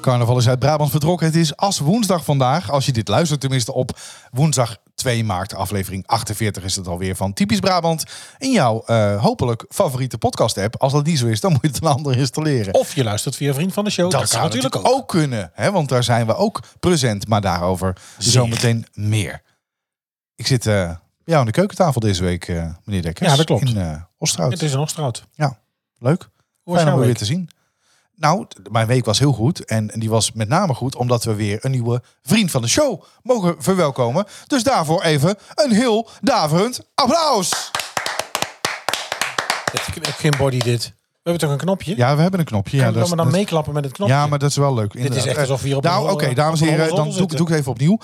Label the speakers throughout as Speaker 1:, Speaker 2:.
Speaker 1: Carnaval is uit Brabant vertrokken. Het is als woensdag vandaag. Als je dit luistert, tenminste op woensdag 2 maart, aflevering 48 is het alweer van Typisch Brabant. In jouw eh, hopelijk favoriete podcast-app. Als dat niet zo is, dan moet je het een ander installeren.
Speaker 2: Of je luistert via Vriend van de Show. Oh, Dat, kan natuurlijk ook.
Speaker 1: kunnen, hè? want daar zijn we ook present. Maar daarover zometeen meer. Ik zit eh, bij jou aan de keukentafel deze week, eh, meneer Dekkers.
Speaker 2: Ja, dat klopt.
Speaker 1: In eh Osterhout.
Speaker 2: Het is een Oosterhout.
Speaker 1: Leuk.
Speaker 2: Hoe was
Speaker 1: Fijn om
Speaker 2: jouw
Speaker 1: weer
Speaker 2: week?
Speaker 1: te zien. Nou, t- mijn week was heel goed. En die was met name goed omdat we weer een nieuwe vriend van de show mogen verwelkomen. Dus daarvoor even een heel daverend applaus.
Speaker 2: Het is ook geen body dit. We hebben toch een knopje?
Speaker 1: Ja, we hebben een knopje. Ja,
Speaker 2: Kunnen we
Speaker 1: dat is-
Speaker 2: maar dan
Speaker 1: dat-
Speaker 2: meeklappen met het knopje?
Speaker 1: Ja, maar dat is wel leuk.
Speaker 2: is
Speaker 1: inderdaad.
Speaker 2: echt alsof we hier op
Speaker 1: Nou,
Speaker 2: een
Speaker 1: oké,
Speaker 2: hol- op
Speaker 1: dames
Speaker 2: een
Speaker 1: en heren,
Speaker 2: holle
Speaker 1: dan
Speaker 2: zolder
Speaker 1: doe, ik-
Speaker 2: zitten.
Speaker 1: doe ik even opnieuw.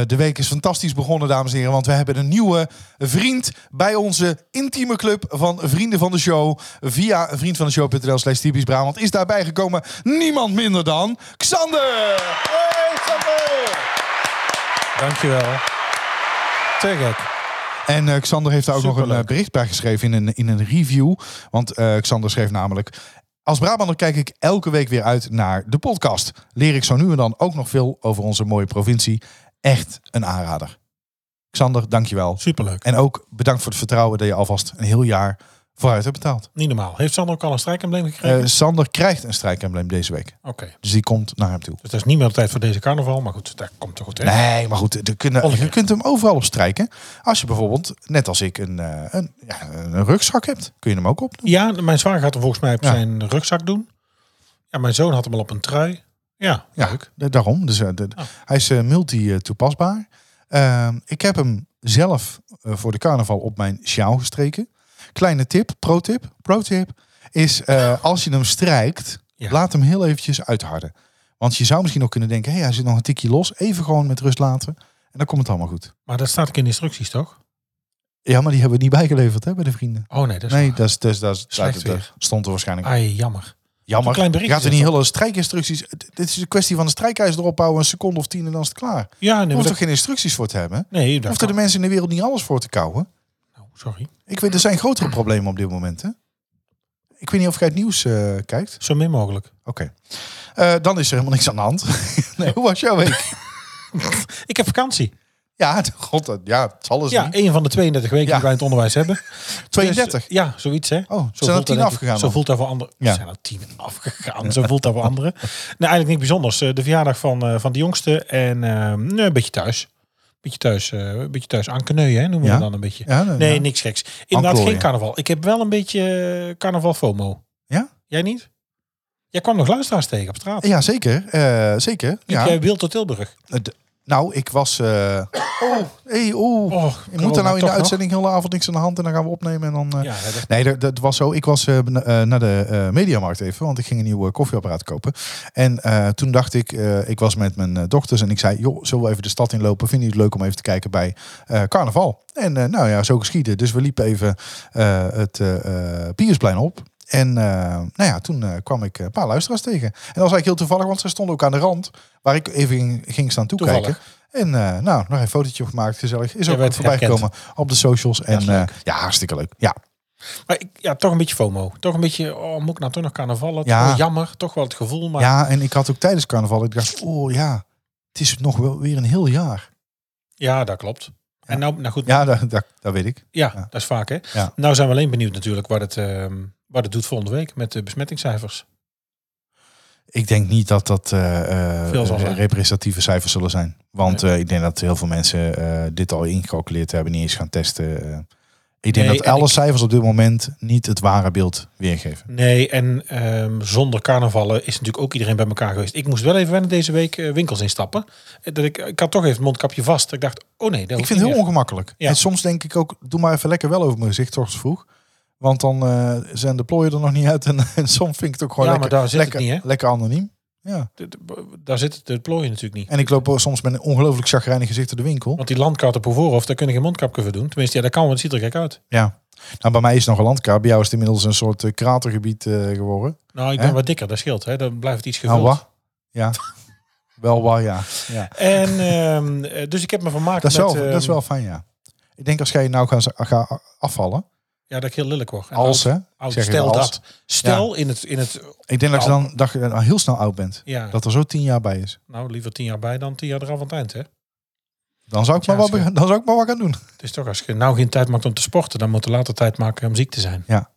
Speaker 1: Eh, de week is fantastisch begonnen, dames en heren, want we hebben een nieuwe vriend bij onze intieme club van vrienden van de show. Via vriendvandeshow.nl slash typisch Brabant is daarbij gekomen niemand minder dan Xander! Hey, Xander!
Speaker 2: Dankjewel. Te gek.
Speaker 1: En eh, Xander heeft daar ook nog een
Speaker 2: Superleuk.
Speaker 1: eh, bericht bij geschreven in een, in een review. Want eh, Xander schreef namelijk... Als Brabander kijk ik elke week weer uit naar de podcast. Leer ik zo nu en dan ook nog veel over onze mooie provincie. Echt een aanrader. Xander, dankjewel.
Speaker 2: Superleuk.
Speaker 1: En ook bedankt voor het vertrouwen dat je alvast een heel jaar vooruit hebt betaald.
Speaker 2: Niet normaal. Heeft Sander ook al een strijkembleem gekregen?
Speaker 1: Eh Sander krijgt een strijkembleem deze week.
Speaker 2: Oké.
Speaker 1: Dus die komt naar hem toe.
Speaker 2: Dus dat is niet meer de tijd voor deze carnaval. Maar goed, dat komt toch goed hè?
Speaker 1: Nee, maar goed, er kunnen,
Speaker 2: Oliver.
Speaker 1: je kunt hem overal op strijken. Als je bijvoorbeeld, net als ik, een, eh, een, ja, een rugzak hebt, kun je hem ook opdoen.
Speaker 2: Ja, mijn zwager gaat hem volgens mij op
Speaker 1: Ja.
Speaker 2: zijn rugzak doen. Ja, mijn zoon had hem al op een trui. Ja,
Speaker 1: Ja,
Speaker 2: leuk.
Speaker 1: da- daarom. Dus, eh, de-
Speaker 2: Ah.
Speaker 1: Hij is eh, multi-toepasbaar. Ehm, ik heb hem zelf eh, voor de carnaval op mijn sjaal gestreken. Kleine tip, pro-tip, pro-tip, is eh, als je hem strijkt,
Speaker 2: Ja.
Speaker 1: laat hem heel eventjes uitharden. Want je zou misschien ook kunnen denken, hé, hey, hij zit nog een tikje los. Even gewoon met rust laten. En dan komt het allemaal goed.
Speaker 2: Maar dat staat ook in de instructies, toch?
Speaker 1: Ja, maar die hebben we niet bijgeleverd hè, bij de vrienden.
Speaker 2: Oh nee, dat is
Speaker 1: Nee,
Speaker 2: waar.
Speaker 1: dat, is, dat, is, dat, is-
Speaker 2: Slecht
Speaker 1: dat- dat
Speaker 2: weer.
Speaker 1: stond er waarschijnlijk.
Speaker 2: Ai, jammer.
Speaker 1: Jammer.
Speaker 2: een klein berichtje
Speaker 1: Gaat er niet hele strijkinstructies. D- Dit is een kwestie van een strijkijzer erop houden, een seconde of tien en dan is het klaar. Je
Speaker 2: Ja, nee, maar
Speaker 1: hoeft
Speaker 2: dat,
Speaker 1: er geen instructies voor te hebben.
Speaker 2: nee, dat
Speaker 1: Hoeft er de
Speaker 2: kan-
Speaker 1: mensen in de wereld niet alles voor te kouwen.
Speaker 2: Oh, sorry.
Speaker 1: Ik weet, er zijn grotere problemen op dit moment. Hè? Ik weet niet of jij het nieuws eh, kijkt.
Speaker 2: Zo min mogelijk.
Speaker 1: Oké. Eh, dan is er helemaal niks aan de hand. nee, hoe was jouw week?
Speaker 2: Ik heb vakantie.
Speaker 1: ja, god, dat- ja, het zal eens
Speaker 2: Ja,
Speaker 1: niet.
Speaker 2: een van de 32 weken
Speaker 1: Ja.
Speaker 2: die wij in het onderwijs hebben.
Speaker 1: 32.
Speaker 2: Dus, ja, zoiets hè.
Speaker 1: Oh, zijn er
Speaker 2: voelt dat,
Speaker 1: 10
Speaker 2: denk ik.
Speaker 1: afgegaan
Speaker 2: Zo
Speaker 1: dan?
Speaker 2: voelt dat voor anderen.
Speaker 1: Ja.
Speaker 2: Zijn er tien afgegaan. Zo voelt dat voor anderen. Nou, eigenlijk niks bijzonders. Eh, De verjaardag van, eh, van de jongste en eh, nee, een beetje thuis. Beetje thuis, eh, een beetje thuis aan hè, noemen
Speaker 1: Ja.
Speaker 2: we dan een beetje.
Speaker 1: Ja, nou, nee,
Speaker 2: nee,
Speaker 1: ja.
Speaker 2: niks geks. Inderdaad,
Speaker 1: klooien.
Speaker 2: geen carnaval. Ik heb wel een beetje eh, carnaval FOMO.
Speaker 1: Ja?
Speaker 2: Jij niet? Jij kwam nog luisteraars tegen op straat.
Speaker 1: nou. ja zeker. eh, zeker.
Speaker 2: Liep
Speaker 1: Ja.
Speaker 2: Jij wild tot Tilburg.
Speaker 1: Eh, d- nou, ik was. eh, Oh, hey, oh.
Speaker 2: Oh,
Speaker 1: Je moet er nou in
Speaker 2: corona, toch
Speaker 1: de
Speaker 2: nog?
Speaker 1: uitzending heel de avond niks aan de hand en dan gaan we opnemen en dan. eh,
Speaker 2: Ja, dat-
Speaker 1: Nee, dat, dat was zo. Ik was eh, na- eh, naar de eh, mediamarkt even, want ik ging een nieuw eh, koffieapparaat kopen. En eh, toen dacht ik, eh, ik was met mijn eh, dochters en ik zei, joh, zullen we even de stad inlopen? Vind je het leuk om even te kijken bij eh, carnaval? En eh, nou ja, zo geschiedde. Dus we liepen even eh, het eh, eh, Piersplein op. En eh, nou ja, toen eh, kwam ik eh, een paar luisteraars tegen. En dat was eigenlijk heel toevallig, want ze stonden ook aan de rand waar ik even ging, ging staan toekijken.
Speaker 2: Toevallig.
Speaker 1: En eh, nou, nog een fotootje gemaakt, gezellig. Is
Speaker 2: Jij
Speaker 1: ook
Speaker 2: werd
Speaker 1: voorbij
Speaker 2: herkend.
Speaker 1: gekomen op de socials. En
Speaker 2: is
Speaker 1: ja,
Speaker 2: leuk.
Speaker 1: ja hartstikke leuk. Ja,
Speaker 2: Maar ik, ja, toch een beetje FOMO. Toch een beetje, oh, moet ik nou toch nog carnavallen?
Speaker 1: Ja.
Speaker 2: Toch wel jammer, toch wel het gevoel. Maar ja,
Speaker 1: Ja, en ik had ook tijdens carnaval, ik dacht, oh ja, het is nog wel weer een heel jaar.
Speaker 2: dat klopt. En nou, nou goed, ja,
Speaker 1: Ja, dat, dat, dat weet ik. ja.
Speaker 2: dat is vaak hè.
Speaker 1: Ja.
Speaker 2: Nou zijn we alleen benieuwd natuurlijk wat het, ehm, wat het doet volgende week met de besmettingscijfers.
Speaker 1: Ik denk niet dat dat eh, eh,
Speaker 2: Veel zal zijn.
Speaker 1: representatieve cijfers zullen zijn. Want eh, ik denk dat heel veel mensen eh, dit al ingecalculeerd hebben, niet eens gaan testen. eh. Ik denk
Speaker 2: Nee,
Speaker 1: dat
Speaker 2: en
Speaker 1: alle
Speaker 2: ik-
Speaker 1: cijfers op dit moment niet het ware beeld weergeven.
Speaker 2: Nee, en ehm, zonder carnavallen is natuurlijk ook iedereen bij elkaar geweest. Ik moest wel even wennen deze week eh, winkels instappen. Eh, Dat ik, ik had toch even het mondkapje vast. Dat Ik dacht, oh nee, dat
Speaker 1: Ik
Speaker 2: hoeft
Speaker 1: vind het
Speaker 2: niet
Speaker 1: heel
Speaker 2: meer.
Speaker 1: ongemakkelijk.
Speaker 2: Ja.
Speaker 1: En soms denk ik ook, doe maar even lekker wel over mijn gezicht, 's ochtends vroeg. Want dan eh, zijn de plooien er nog niet uit. En, en soms vind ik het ook gewoon
Speaker 2: Ja, maar
Speaker 1: lekker,
Speaker 2: daar zit het
Speaker 1: lekker,
Speaker 2: niet, hè?
Speaker 1: lekker anoniem. Ja.
Speaker 2: D- d- Daar zit de plooien natuurlijk niet.
Speaker 1: En ik loop soms met een ongelooflijk chagrijnig gezicht door de winkel.
Speaker 2: Want die landkaart op uw voorhoofd, daar kun je geen mondkapje voor doen. Tenminste, ja, dat kan, want het ziet er gek uit.
Speaker 1: Ja. Nou, bij mij is het nog een landkaart. Bij jou is het inmiddels een soort eh, kratergebied eh, geworden.
Speaker 2: Nou, ik
Speaker 1: Hè?
Speaker 2: ben wat dikker, dat scheelt. Hè. Dan blijft het iets
Speaker 1: Nou,
Speaker 2: gevuld.
Speaker 1: wat? Ja. wel waar, ja. ja.
Speaker 2: En, ehm, eh, dus ik heb me vermaakt
Speaker 1: Dat, is
Speaker 2: met...
Speaker 1: wel, dat is
Speaker 2: ehm,
Speaker 1: wel fijn, ja. Ik denk als jij nou gaat ga afvallen,
Speaker 2: Ja, dat ik heel lelijk word. En
Speaker 1: als hè,
Speaker 2: oud- oud,
Speaker 1: zeg ik
Speaker 2: stel
Speaker 1: als.
Speaker 2: dat. Stel in het... In het
Speaker 1: Ik denk dat je
Speaker 2: Nou.
Speaker 1: dan dat je dan heel snel oud bent.
Speaker 2: ja,
Speaker 1: Dat er zo tien jaar bij is.
Speaker 2: nou liever tien jaar bij dan tien jaar eraf aan het eind, hè?
Speaker 1: Dan zou ik,
Speaker 2: Ja,
Speaker 1: maar, wat,
Speaker 2: is
Speaker 1: be- dan zou ik maar wat gaan doen.
Speaker 2: Het is toch, als je nou geen tijd maakt om te sporten, dan moet je later tijd maken om ziek te zijn.
Speaker 1: Ja.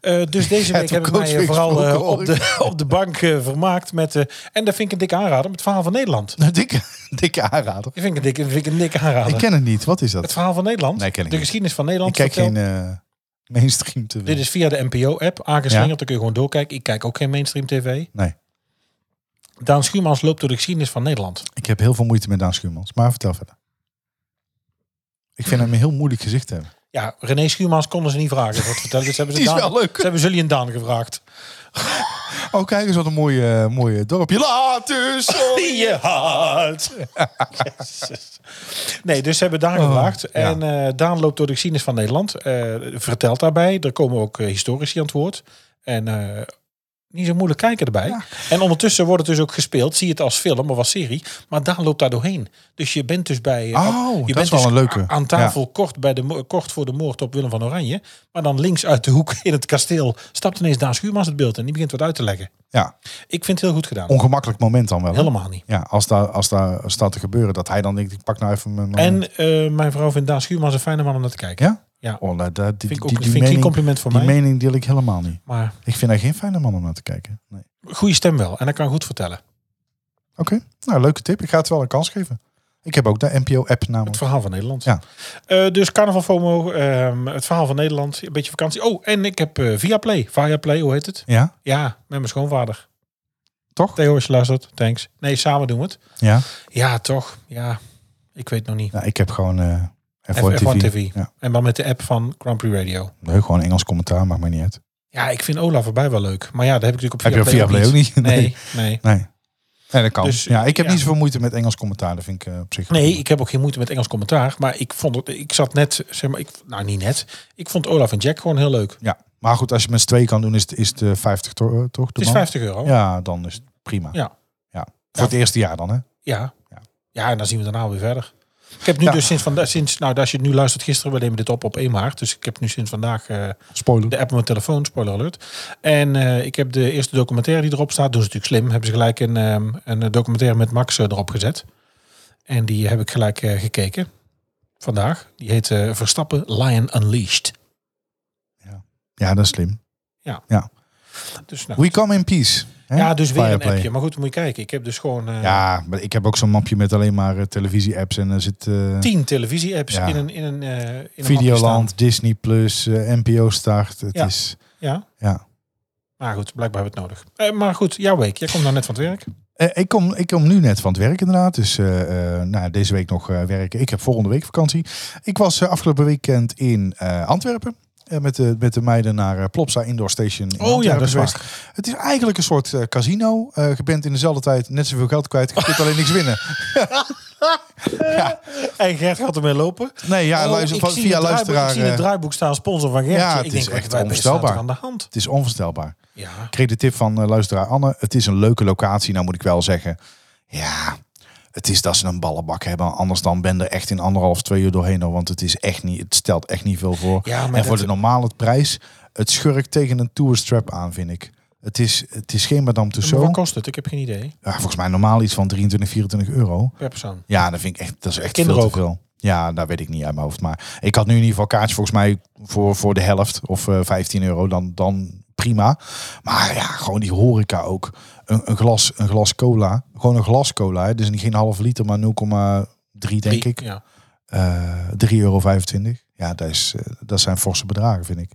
Speaker 2: Eh, dus deze
Speaker 1: Ja,
Speaker 2: week
Speaker 1: toen
Speaker 2: heb ik
Speaker 1: coach
Speaker 2: mij eh,
Speaker 1: weer
Speaker 2: vooral eh,
Speaker 1: gesproken,
Speaker 2: op, de, op de bank eh, vermaakt met, eh, en dat vind ik een dikke aanrader, met het verhaal van Nederland.
Speaker 1: Een dikke, dikke aanrader.
Speaker 2: Dat vind ik een dikke, vind ik een dikke aanrader.
Speaker 1: Ik ken het niet. Wat is
Speaker 2: Het
Speaker 1: dat?
Speaker 2: verhaal van Nederland,
Speaker 1: Nee, ken ik
Speaker 2: de
Speaker 1: niet.
Speaker 2: geschiedenis van
Speaker 1: Ik
Speaker 2: Nederland.
Speaker 1: kijk
Speaker 2: vertelt-
Speaker 1: geen eh, mainstream te
Speaker 2: Dit is via de NPO-app, aangeslingerd,
Speaker 1: Ja.
Speaker 2: dan kun je gewoon doorkijken. Ik kijk ook geen mainstream tv.
Speaker 1: Nee.
Speaker 2: Daan Schuurmans loopt door de geschiedenis van Nederland.
Speaker 1: Ik heb heel veel moeite met Daan Schuurmans. Maar vertel verder. Ik vind hem een heel moeilijk gezicht te hebben.
Speaker 2: Ja, René Schuurmans konden ze niet vragen. Wat vertellen. Dus hebben ze
Speaker 1: Die is
Speaker 2: Daan-
Speaker 1: wel leuk.
Speaker 2: Ze hebben Zully en Daan gevraagd.
Speaker 1: Oh, kijk eens wat een mooie, eh, mooie dorpje. Later, sorry.
Speaker 2: in je hart. Jezus. Nee, dus ze hebben Daan gevraagd.
Speaker 1: Oh, ja.
Speaker 2: En eh, Daan loopt door de geschiedenis van Nederland. eh, vertelt daarbij. Er komen ook eh, historici aan het woord. En eh, niet zo moeilijk kijken erbij. En ondertussen wordt het dus ook gespeeld. Zie je het als film of als serie. Maar Daan loopt daar doorheen. Dus je bent dus bij... eh,
Speaker 1: Oh, dat
Speaker 2: je bent
Speaker 1: is wel
Speaker 2: dus
Speaker 1: een leuke.
Speaker 2: a- Aan tafel kort, bij de, mo- kort voor de moord op Willem van Oranje. Maar dan links uit de hoek in het kasteel... stapt ineens Daan Schuurmans het beeld. En die begint wat uit te leggen.
Speaker 1: Ja,
Speaker 2: Ik vind het heel goed gedaan.
Speaker 1: ongemakkelijk moment dan wel. hè?
Speaker 2: Helemaal niet.
Speaker 1: Ja, als daar, als daar staat te gebeuren, dat hij dan denkt, ik pak nou even mijn...
Speaker 2: En eh, mijn vrouw vindt Daan Schuurmans een fijne man om naar te kijken.
Speaker 1: Ja?
Speaker 2: Ja.
Speaker 1: Oh, nou, dat, die,
Speaker 2: Vind ik ook-
Speaker 1: die, die
Speaker 2: vind ik geen
Speaker 1: mening,
Speaker 2: compliment voor
Speaker 1: die
Speaker 2: mij.
Speaker 1: mening deel ik helemaal niet.
Speaker 2: Maar
Speaker 1: Ik vind hij geen fijne man om naar te kijken. Nee.
Speaker 2: goede stem wel. En hij kan goed vertellen.
Speaker 1: Oké, nou leuke tip. Ik ga het wel een kans geven. Ik heb ook de NPO-app
Speaker 2: Het
Speaker 1: namelijk.
Speaker 2: verhaal van Nederland.
Speaker 1: Ja.
Speaker 2: Eh, dus Carnaval FOMO, ehm, het verhaal van Nederland, een beetje vakantie. Oh, en ik heb eh Viaplay. Viaplay, hoe heet het?
Speaker 1: Ja,
Speaker 2: Ja, met mijn schoonvader.
Speaker 1: toch?
Speaker 2: Theo, als je luistert, thanks. Nee, samen doen we het.
Speaker 1: Ja.
Speaker 2: Ja, toch. Ja, ik weet nog niet.
Speaker 1: Nou, ik heb gewoon eh F1,
Speaker 2: F1
Speaker 1: TV.
Speaker 2: TV.
Speaker 1: Ja.
Speaker 2: En dan met de app van Grand Prix Radio.
Speaker 1: Nee, gewoon Engels commentaar, maakt mij niet uit.
Speaker 2: Ja, ik vind Ola voorbij wel leuk. Maar ja, dat heb ik natuurlijk op
Speaker 1: heb je op
Speaker 2: Viaplay,
Speaker 1: Viaplay ook niet?
Speaker 2: Nee, nee.
Speaker 1: Nee. Nee, dat kan.
Speaker 2: Dus,
Speaker 1: ja, ik heb
Speaker 2: ja.
Speaker 1: niet zoveel moeite met Engels commentaar. Dat vind ik eh, op zich...
Speaker 2: Nee, ik heb ook geen moeite met Engels commentaar. Maar ik vond het, ik zat net, zeg maar, ik, nou niet net. Ik vond Olaf en Jack gewoon heel leuk.
Speaker 1: Ja, maar goed, als je met z'n tweeën kan doen, is het, is het eh, 50 to- eh, toch? de
Speaker 2: Het is
Speaker 1: man?
Speaker 2: 50 euro. Ja.
Speaker 1: Ja, dan is het prima.
Speaker 2: Ja.
Speaker 1: ja. Voor het eerste jaar dan, hè?
Speaker 2: Ja.
Speaker 1: Ja.
Speaker 2: en dan zien we daarna weer verder. Ik heb nu
Speaker 1: Ja.
Speaker 2: dus sinds vandaag, sinds, nou als je het nu luistert gisteren, we nemen dit op op 1 maart. Dus ik heb nu sinds vandaag eh,
Speaker 1: Spoiler.
Speaker 2: de app op mijn telefoon, spoiler alert. En eh, ik heb de eerste documentaire die erop staat, doen ze natuurlijk slim. Hebben ze gelijk een, ehm, een documentaire met Max eh, erop gezet. En die heb ik gelijk eh, gekeken. Vandaag. Die heet eh, Verstappen Lion Unleashed.
Speaker 1: Ja, dat is slim.
Speaker 2: Dus nou,
Speaker 1: We come in peace. hè?
Speaker 2: Ja, dus weer een
Speaker 1: Fireplay.
Speaker 2: appje. Maar goed, moet je kijken. Ik heb dus gewoon eh,
Speaker 1: Ja, maar ik heb ook zo'n mapje met alleen maar eh, televisie-apps. En er zit eh,
Speaker 2: tien televisie-apps
Speaker 1: Ja.
Speaker 2: in een in een, eh, in een mapje
Speaker 1: Videoland, Disney+, Plus, eh, NPO Start. Het
Speaker 2: Ja.
Speaker 1: is...
Speaker 2: staan. Ja.
Speaker 1: Ja.
Speaker 2: Maar goed, blijkbaar hebben we het nodig. Eh, maar goed, jouw week. Jij komt nou net van het werk.
Speaker 1: Eh, ik, kom, ik kom nu net van het werk inderdaad. Dus eh, eh, nou, deze week nog eh, werken. Ik heb volgende week vakantie. Ik was eh, afgelopen weekend in eh, Antwerpen. eh, met, de, met de meiden naar eh, Plopsa Indoor Station. in
Speaker 2: Oh ja,
Speaker 1: Antwerpen
Speaker 2: dat is
Speaker 1: geweest.
Speaker 2: waar.
Speaker 1: Het is eigenlijk een soort eh, casino. Eh je bent in dezelfde tijd net zoveel geld kwijt. Je kunt alleen niks winnen.
Speaker 2: En Gert gaat ermee lopen.
Speaker 1: Nee, ja, luister,
Speaker 2: Oh, ik
Speaker 1: van-
Speaker 2: zie
Speaker 1: via
Speaker 2: het draaiboek-
Speaker 1: luisteraar.
Speaker 2: Ik zie in het
Speaker 1: eh,
Speaker 2: draaiboek staan sponsor van Gertje.
Speaker 1: ja,
Speaker 2: ik
Speaker 1: het
Speaker 2: denk,
Speaker 1: is
Speaker 2: wat
Speaker 1: echt
Speaker 2: wij- wat staat er
Speaker 1: onvoorstelbaar.
Speaker 2: aan de hand.
Speaker 1: het is onvoorstelbaar.
Speaker 2: Ja.
Speaker 1: Ik kreeg de tip van eh, luisteraar Anne. Het is een leuke locatie. Nou moet ik wel zeggen. Ja, het is dat ze een ballenbak hebben. Anders dan ben je er echt in anderhalf, twee uur doorheen. hoor, Want het, is echt niet, het stelt echt niet veel voor.
Speaker 2: Ja, maar
Speaker 1: en
Speaker 2: dat-
Speaker 1: voor de normale prijs. Het schurkt tegen een tourstrap aan, vind ik. Het is, het is geen Madame
Speaker 2: Maar
Speaker 1: Tussauds.
Speaker 2: wat kost het? Ik heb geen idee.
Speaker 1: Ja, volgens mij normaal iets van 23, 24 euro.
Speaker 2: Per persoon.
Speaker 1: Ja, dat vind ik echt, dat is echt
Speaker 2: Kinderen
Speaker 1: veel te
Speaker 2: ook.
Speaker 1: veel. Ja, daar weet ik niet uit mijn hoofd. Maar ik had nu in ieder geval kaartjes volgens mij voor, voor de helft of eh, 15 euro. Dan, dan prima. Maar ja, gewoon die horeca ook. Een, een, glas, een glas cola. Gewoon een glas cola. Hè. Dus niet geen half liter, maar 0,3 denk ik.
Speaker 2: Ja.
Speaker 1: Eh 3,25 euro. Ja, dat, is, eh, dat zijn forse bedragen, vind ik.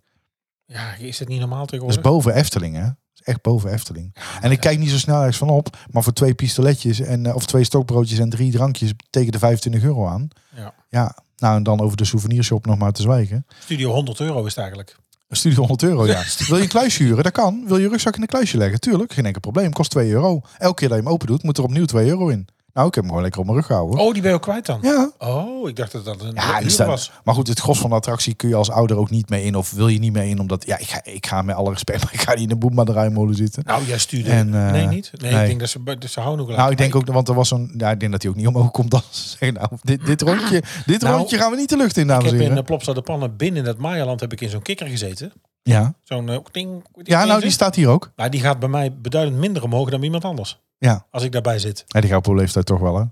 Speaker 2: ja, is het niet normaal
Speaker 1: Dat is
Speaker 2: tegenwoordig?
Speaker 1: boven Efteling, hè? Dat is echt boven Efteling. En ik kijk niet zo snel ergens van op, maar voor twee pistoletjes en eh, of twee stokbroodjes en drie drankjes tegen de 25 euro aan.
Speaker 2: Ja.
Speaker 1: Ja, nou en dan over de souvenirshop nog maar te zwijgen.
Speaker 2: Studio 100 euro is het eigenlijk.
Speaker 1: Een studie 100 euro, ja. Wil je een kluisje huren? Dat kan. Wil je rugzak in een kluisje leggen? Tuurlijk, geen enkel probleem. Kost 2 euro. Elke keer dat je hem open doet, moet er opnieuw 2 euro in. Nou, ik heb hem gewoon lekker op mijn rug gehouden.
Speaker 2: Oh, die ben je ook kwijt dan?
Speaker 1: Ja.
Speaker 2: Oh, ik dacht dat dat een
Speaker 1: Ja,
Speaker 2: uur
Speaker 1: dus dan-
Speaker 2: was.
Speaker 1: maar goed, het gros van de attractie kun je als ouder ook niet mee in. Of wil je niet mee in, omdat... Ja, ik ga, ik ga met alle respect, maar ik ga niet in een boemadrijmolen zitten.
Speaker 2: Nou, jij stuurde.
Speaker 1: En, eh,
Speaker 2: nee, niet. Nee,
Speaker 1: nee.
Speaker 2: ik denk dat ze, bu- dat ze houden ook wel
Speaker 1: Nou,
Speaker 2: aan.
Speaker 1: ik denk ook, want er was zo'n... Ja, ik denk dat hij ook niet omhoog komt dan. Ze zeggen, nou, dit, dit rondje, dit
Speaker 2: Nou,
Speaker 1: rondje gaan we niet de lucht in,
Speaker 2: Ik
Speaker 1: dames en
Speaker 2: heb in
Speaker 1: heren.
Speaker 2: de Plopsa de Pannen binnen in het Mayaland heb ik in zo'n kikker gezeten.
Speaker 1: Ja.
Speaker 2: Zo'n eh, ding.
Speaker 1: ja, nou, die staat hier ook.
Speaker 2: Maar die gaat bij mij beduidend minder omhoog dan bij iemand anders.
Speaker 1: Ja.
Speaker 2: Als ik daarbij zit.
Speaker 1: Ja, die gaat op uw leeftijd toch wel, hè?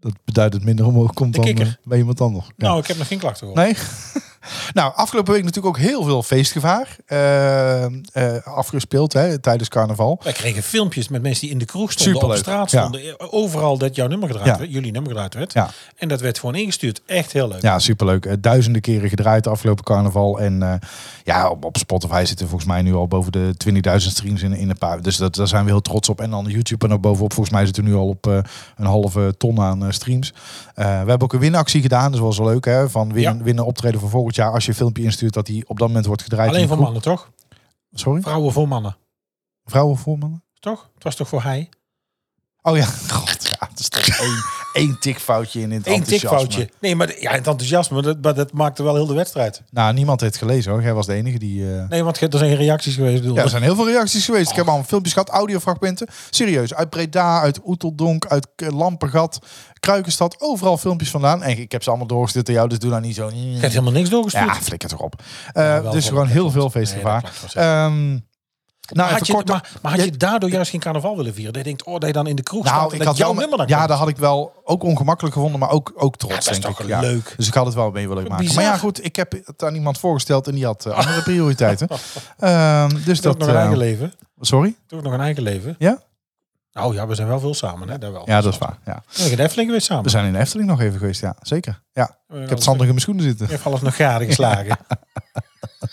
Speaker 1: Dat beduidend minder omhoog komt
Speaker 2: De
Speaker 1: dan
Speaker 2: kikker.
Speaker 1: eh, bij iemand anders. Ja.
Speaker 2: Nou, ik heb nog geen klachten gehoord.
Speaker 1: Nee. nou, afgelopen week natuurlijk ook heel veel feestgevaar eh, eh, afgespeeld hè, tijdens carnaval.
Speaker 2: Wij kregen filmpjes met mensen die in de kroeg stonden,
Speaker 1: Superleuk,
Speaker 2: op straat
Speaker 1: ja.
Speaker 2: stonden. eh, Overal dat jouw nummer gedraaid
Speaker 1: Ja.
Speaker 2: werd, jullie nummer gedraaid werd.
Speaker 1: Ja.
Speaker 2: En dat werd gewoon ingestuurd. Echt heel leuk.
Speaker 1: Ja, superleuk. Eh, Duizenden keren gedraaid de afgelopen carnaval. En eh, ja, op, op Spotify zitten volgens mij nu al boven de 20.000 streams in, in een paar. Dus dat, daar zijn we heel trots op. En dan YouTube en ook bovenop. Volgens mij zitten we nu al op eh, een halve ton aan eh, streams. Eh, we hebben ook een winactie gedaan. Dus Dat was wel leuk. Hè? Van win,
Speaker 2: Ja.
Speaker 1: winnen optreden van volgend jaar. Als je een filmpje instuurt dat die op dat moment wordt gedraaid.
Speaker 2: Alleen
Speaker 1: in de
Speaker 2: voor
Speaker 1: kroeg.
Speaker 2: mannen, toch?
Speaker 1: Sorry?
Speaker 2: Vrouwen voor mannen,
Speaker 1: Vrouwen voor mannen?
Speaker 2: toch? Het was toch voor hij?
Speaker 1: Oh ja, god, ja, het is toch één, één tikfoutje in het
Speaker 2: Eén
Speaker 1: enthousiasme.
Speaker 2: tikfoutje. Nee, maar de- ja, het enthousiasme, dat, maar dat maakte wel heel de wedstrijd.
Speaker 1: Nou, niemand heeft gelezen hoor. Jij was de enige die... eh,
Speaker 2: Nee, want er zijn geen reacties geweest. bedoel.
Speaker 1: Ja, er zijn heel veel reacties geweest. Ik heb al filmpjes gehad, audiofragmenten. Serieus, uit Breda, uit Oeteldonk, uit K- Lampengat, Kruikenstad. Overal filmpjes vandaan. En ik heb ze allemaal doorgestuurd aan jou, dus doe nou niet zo...
Speaker 2: Ik heb helemaal niks doorgestuurd.
Speaker 1: Ja, flikker toch op.
Speaker 2: Ja,
Speaker 1: Eh
Speaker 2: wel
Speaker 1: dus
Speaker 2: voor
Speaker 1: gewoon
Speaker 2: de
Speaker 1: heel
Speaker 2: plot.
Speaker 1: veel
Speaker 2: Nee,
Speaker 1: feestgevaar.
Speaker 2: dat klopt, dat is-
Speaker 1: Ehm nou, even
Speaker 2: maar, had je,
Speaker 1: kort...
Speaker 2: maar, maar had
Speaker 1: Ja,
Speaker 2: je daardoor juist geen carnaval willen vieren? Dat je denkt, oh, dat je dan in de kroeg staat
Speaker 1: nou,
Speaker 2: en
Speaker 1: ik
Speaker 2: dat
Speaker 1: had
Speaker 2: jouw
Speaker 1: wel... me-
Speaker 2: nummer dan
Speaker 1: Ja,
Speaker 2: komt.
Speaker 1: dat had ik wel ook ongemakkelijk gevonden, maar ook, ook trots,
Speaker 2: Ja, dat is
Speaker 1: denk
Speaker 2: toch
Speaker 1: ik. Ja.
Speaker 2: leuk.
Speaker 1: Dus ik had het wel mee willen maken. Maar ja,
Speaker 2: Bizar.
Speaker 1: goed, ik heb het aan iemand voorgesteld en die had eh, andere prioriteiten. Ehm, dus
Speaker 2: Doe
Speaker 1: dat...
Speaker 2: ook nog een
Speaker 1: eh,
Speaker 2: eigen leven.
Speaker 1: sorry?
Speaker 2: Doe ook nog een eigen leven.
Speaker 1: Ja?
Speaker 2: Nou ja, we zijn wel veel samen, hè? Daar wel.
Speaker 1: Ja, dat is waar. Ja.
Speaker 2: We zijn de Efteling weer
Speaker 1: We
Speaker 2: samen.
Speaker 1: zijn in de Efteling nog even geweest, ja. Zeker. Ja. Ik heb
Speaker 2: alles-
Speaker 1: zandig in mijn schoenen
Speaker 2: Ik
Speaker 1: zitten.
Speaker 2: heb alles nog gade geslagen.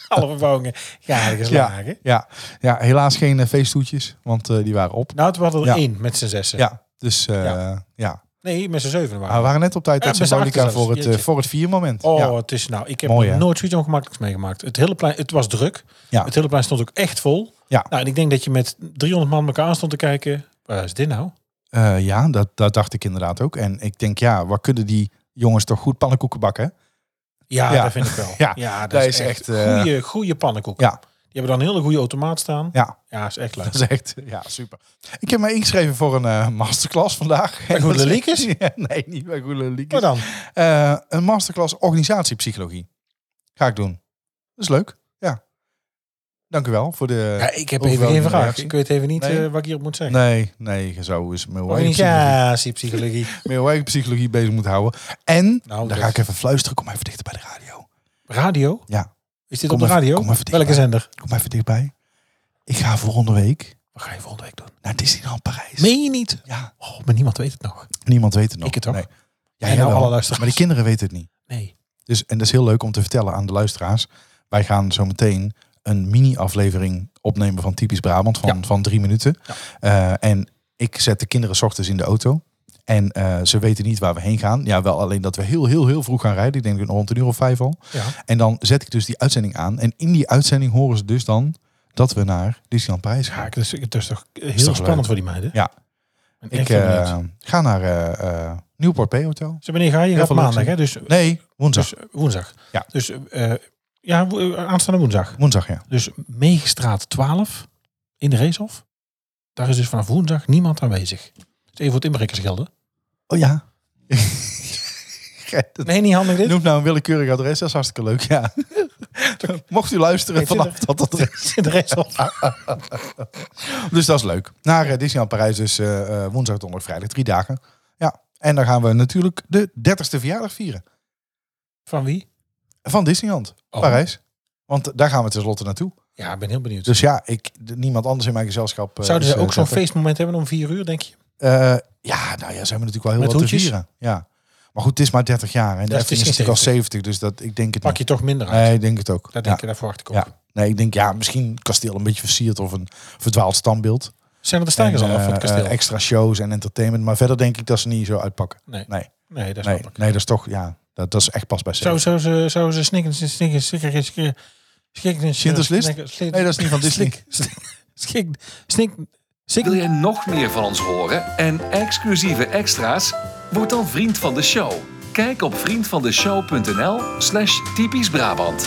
Speaker 2: Alle verbouwingen gade geslagen.
Speaker 1: Ja, ja helaas geen eh, feesttoetjes, want eh, die waren op.
Speaker 2: Nou, het waren er
Speaker 1: Ja.
Speaker 2: één met z'n zessen.
Speaker 1: Ja, Ah, dus eh, ja.
Speaker 2: Ja. Nee, met z'n zeven waren
Speaker 1: Maar we waren net op tijd
Speaker 2: Ja,
Speaker 1: dat
Speaker 2: we zagen
Speaker 1: symbolica
Speaker 2: zelfs.
Speaker 1: voor het, eh,
Speaker 2: Jeetje.
Speaker 1: voor het viermoment.
Speaker 2: Oh,
Speaker 1: Ja.
Speaker 2: het is nou, ik heb
Speaker 1: Mooi,
Speaker 2: nog
Speaker 1: hè?
Speaker 2: nooit zoiets ongemakkelijks meegemaakt. Het hele plein, het was druk.
Speaker 1: Ja.
Speaker 2: Het hele plein stond ook echt vol.
Speaker 1: Ja.
Speaker 2: Nou, en ik denk dat je met 300 man elkaar aan stond te kijken. Waar is dit nou?
Speaker 1: Eh, ja, dat, dat dacht ik inderdaad ook. En ik denk, ja, waar kunnen die jongens toch goed pannenkoeken bakken? hè?
Speaker 2: Ja,
Speaker 1: Ja.
Speaker 2: dat vind ik wel.
Speaker 1: Ja,
Speaker 2: dat,
Speaker 1: dat
Speaker 2: is
Speaker 1: is
Speaker 2: echt
Speaker 1: echt, eh,
Speaker 2: goede, goede pannenkoek.
Speaker 1: Ja.
Speaker 2: Die hebben dan een hele goede automaat staan.
Speaker 1: Ja,
Speaker 2: Ja, is echt leuk.
Speaker 1: dat is echt, ja, super. Ik heb mij ingeschreven voor een eh, masterclass vandaag.
Speaker 2: Bij Goede Liekes?
Speaker 1: Ja, nee, niet bij Goede Liekes.
Speaker 2: Maar dan,
Speaker 1: Eh, een masterclass organisatiepsychologie. Ga ik doen. Dat is leuk. Ja. Dank u wel voor de...
Speaker 2: ja, ik heb even geen
Speaker 1: overweldigende
Speaker 2: vraag.
Speaker 1: reactie.
Speaker 2: Ik weet even niet
Speaker 1: Nee.
Speaker 2: eh, wat ik hierop moet zeggen.
Speaker 1: Nee, nee, zo is mijn eigen, psychologie,
Speaker 2: Organisatiepsychologie.
Speaker 1: met mijn eigen psychologie bezig moet houden. En,
Speaker 2: Nou,
Speaker 1: Nou, dan
Speaker 2: dat-
Speaker 1: ga ik even fluisteren. Kom even dichter bij de radio.
Speaker 2: Radio?
Speaker 1: Ja.
Speaker 2: Is dit
Speaker 1: Kom
Speaker 2: op de
Speaker 1: even-
Speaker 2: radio?
Speaker 1: kom even
Speaker 2: Welke
Speaker 1: dichterbij.
Speaker 2: zender?
Speaker 1: Kom even dichtbij. Ik ga volgende week
Speaker 2: Wat ga je volgende week doen?
Speaker 1: naar Disneyland Parijs.
Speaker 2: Meen je niet?
Speaker 1: Ja,
Speaker 2: Oh, maar niemand weet het nog.
Speaker 1: niemand weet het nog.
Speaker 2: Ik het ook.
Speaker 1: Nee. Ja,
Speaker 2: En
Speaker 1: jij
Speaker 2: nou
Speaker 1: wel.
Speaker 2: alle luisteraars.
Speaker 1: Maar die kinderen weten het niet.
Speaker 2: Nee.
Speaker 1: Dus, en dat is heel leuk om te vertellen aan de luisteraars. Wij gaan zo meteen een mini-aflevering opnemen van Typisch Brabant van, van drie minuten. Eh, en ik zet de kinderen 's ochtends in de auto. En eh, ze weten niet waar we heen gaan. Ja, wel alleen dat we heel, heel, heel vroeg gaan rijden. Ik denk rond een uur of vijf al.
Speaker 2: Ja.
Speaker 1: En dan zet ik dus die uitzending aan. En in die uitzending horen ze dus dan dat we naar Disneyland Parijs gaan.
Speaker 2: Ja, ik- dus, het is toch heel
Speaker 1: toch
Speaker 2: spannend
Speaker 1: leuk?
Speaker 2: voor die meiden.
Speaker 1: Ja.
Speaker 2: Ik, ben
Speaker 1: Ik
Speaker 2: echt heel
Speaker 1: eh,
Speaker 2: benieuwd.
Speaker 1: ga naar eh, eh, Nieuwport P Hotel.
Speaker 2: Zo, wanneer ga je? Je
Speaker 1: heel
Speaker 2: gaat
Speaker 1: veel
Speaker 2: maandag,
Speaker 1: leuk
Speaker 2: hè? Dus,
Speaker 1: Nee, woensdag.
Speaker 2: dus woensdag.
Speaker 1: Ja.
Speaker 2: Dus eh, ja, wo- eh, aanstaande woensdag.
Speaker 1: Woensdag, ja.
Speaker 2: Dus Meegestraat 12 in de Racehof. Daar is dus vanaf woensdag niemand aanwezig. Dus even voor het inbrekersgelden.
Speaker 1: Oh ja. Dat-
Speaker 2: Nee, niet handig dit.
Speaker 1: Noem nou een willekeurig adres, dat is hartstikke leuk, ja. Mocht u luisteren
Speaker 2: Ik vind
Speaker 1: vanaf dat adres.
Speaker 2: In de Racehof.
Speaker 1: Dus dat is leuk. Naar eh, Disneyland Parijs dus eh, eh, woensdag, donderdag, vrijdag, drie dagen. Ja, en dan gaan we natuurlijk de 30ste verjaardag vieren
Speaker 2: Van wie?
Speaker 1: van Disneyland
Speaker 2: Oh.
Speaker 1: Parijs. Want daar gaan we tenslotte naartoe.
Speaker 2: Ja, ik ben heel benieuwd.
Speaker 1: Dus ja, ik, d- niemand anders in mijn gezelschap. eh,
Speaker 2: Zouden
Speaker 1: is,
Speaker 2: ze
Speaker 1: eh,
Speaker 2: ook zo'n
Speaker 1: prettig.
Speaker 2: feestmoment hebben om vier uur, denk je?
Speaker 1: Eh, ja, nou ja, zijn we natuurlijk wel heel
Speaker 2: Met
Speaker 1: wat
Speaker 2: hoedjes?
Speaker 1: te vieren. Ja. Maar goed, het is maar 30 jaar. En de
Speaker 2: Dat is
Speaker 1: Efteling is natuurlijk al
Speaker 2: 70.
Speaker 1: 70, dus dat, ik denk het
Speaker 2: Pak
Speaker 1: niet.
Speaker 2: je toch minder uit.
Speaker 1: Nee, ik denk het ook. Ja.
Speaker 2: Daar, denk ik, daar verwacht ik ook.
Speaker 1: Ja. Nee, ik denk ja, misschien kasteel een beetje versierd of een verdwaald standbeeld.
Speaker 2: Zijn er de stijgers
Speaker 1: En,
Speaker 2: al af van het
Speaker 1: eh,
Speaker 2: kasteel?
Speaker 1: eh, extra shows en entertainment. Maar verder denk ik dat ze niet zo uitpakken.
Speaker 2: nee.
Speaker 1: nee.
Speaker 2: Nee, dat snap
Speaker 1: nee,
Speaker 2: ik.
Speaker 1: nee, dat is toch, ja, dat, dat is echt pas bij
Speaker 2: Zou,
Speaker 1: ze.
Speaker 2: zou ze, zou ze snikken, snikken, snikken, snikken, snikken,
Speaker 1: Schindler's List? Nee, dat is niet van Disney.
Speaker 2: Snik, snik, snik,
Speaker 3: Wil jij nog meer van ons horen en exclusieve extra's? Word dan vriend van de show. Kijk op vriendvandeshow.nl slash typisch Brabant.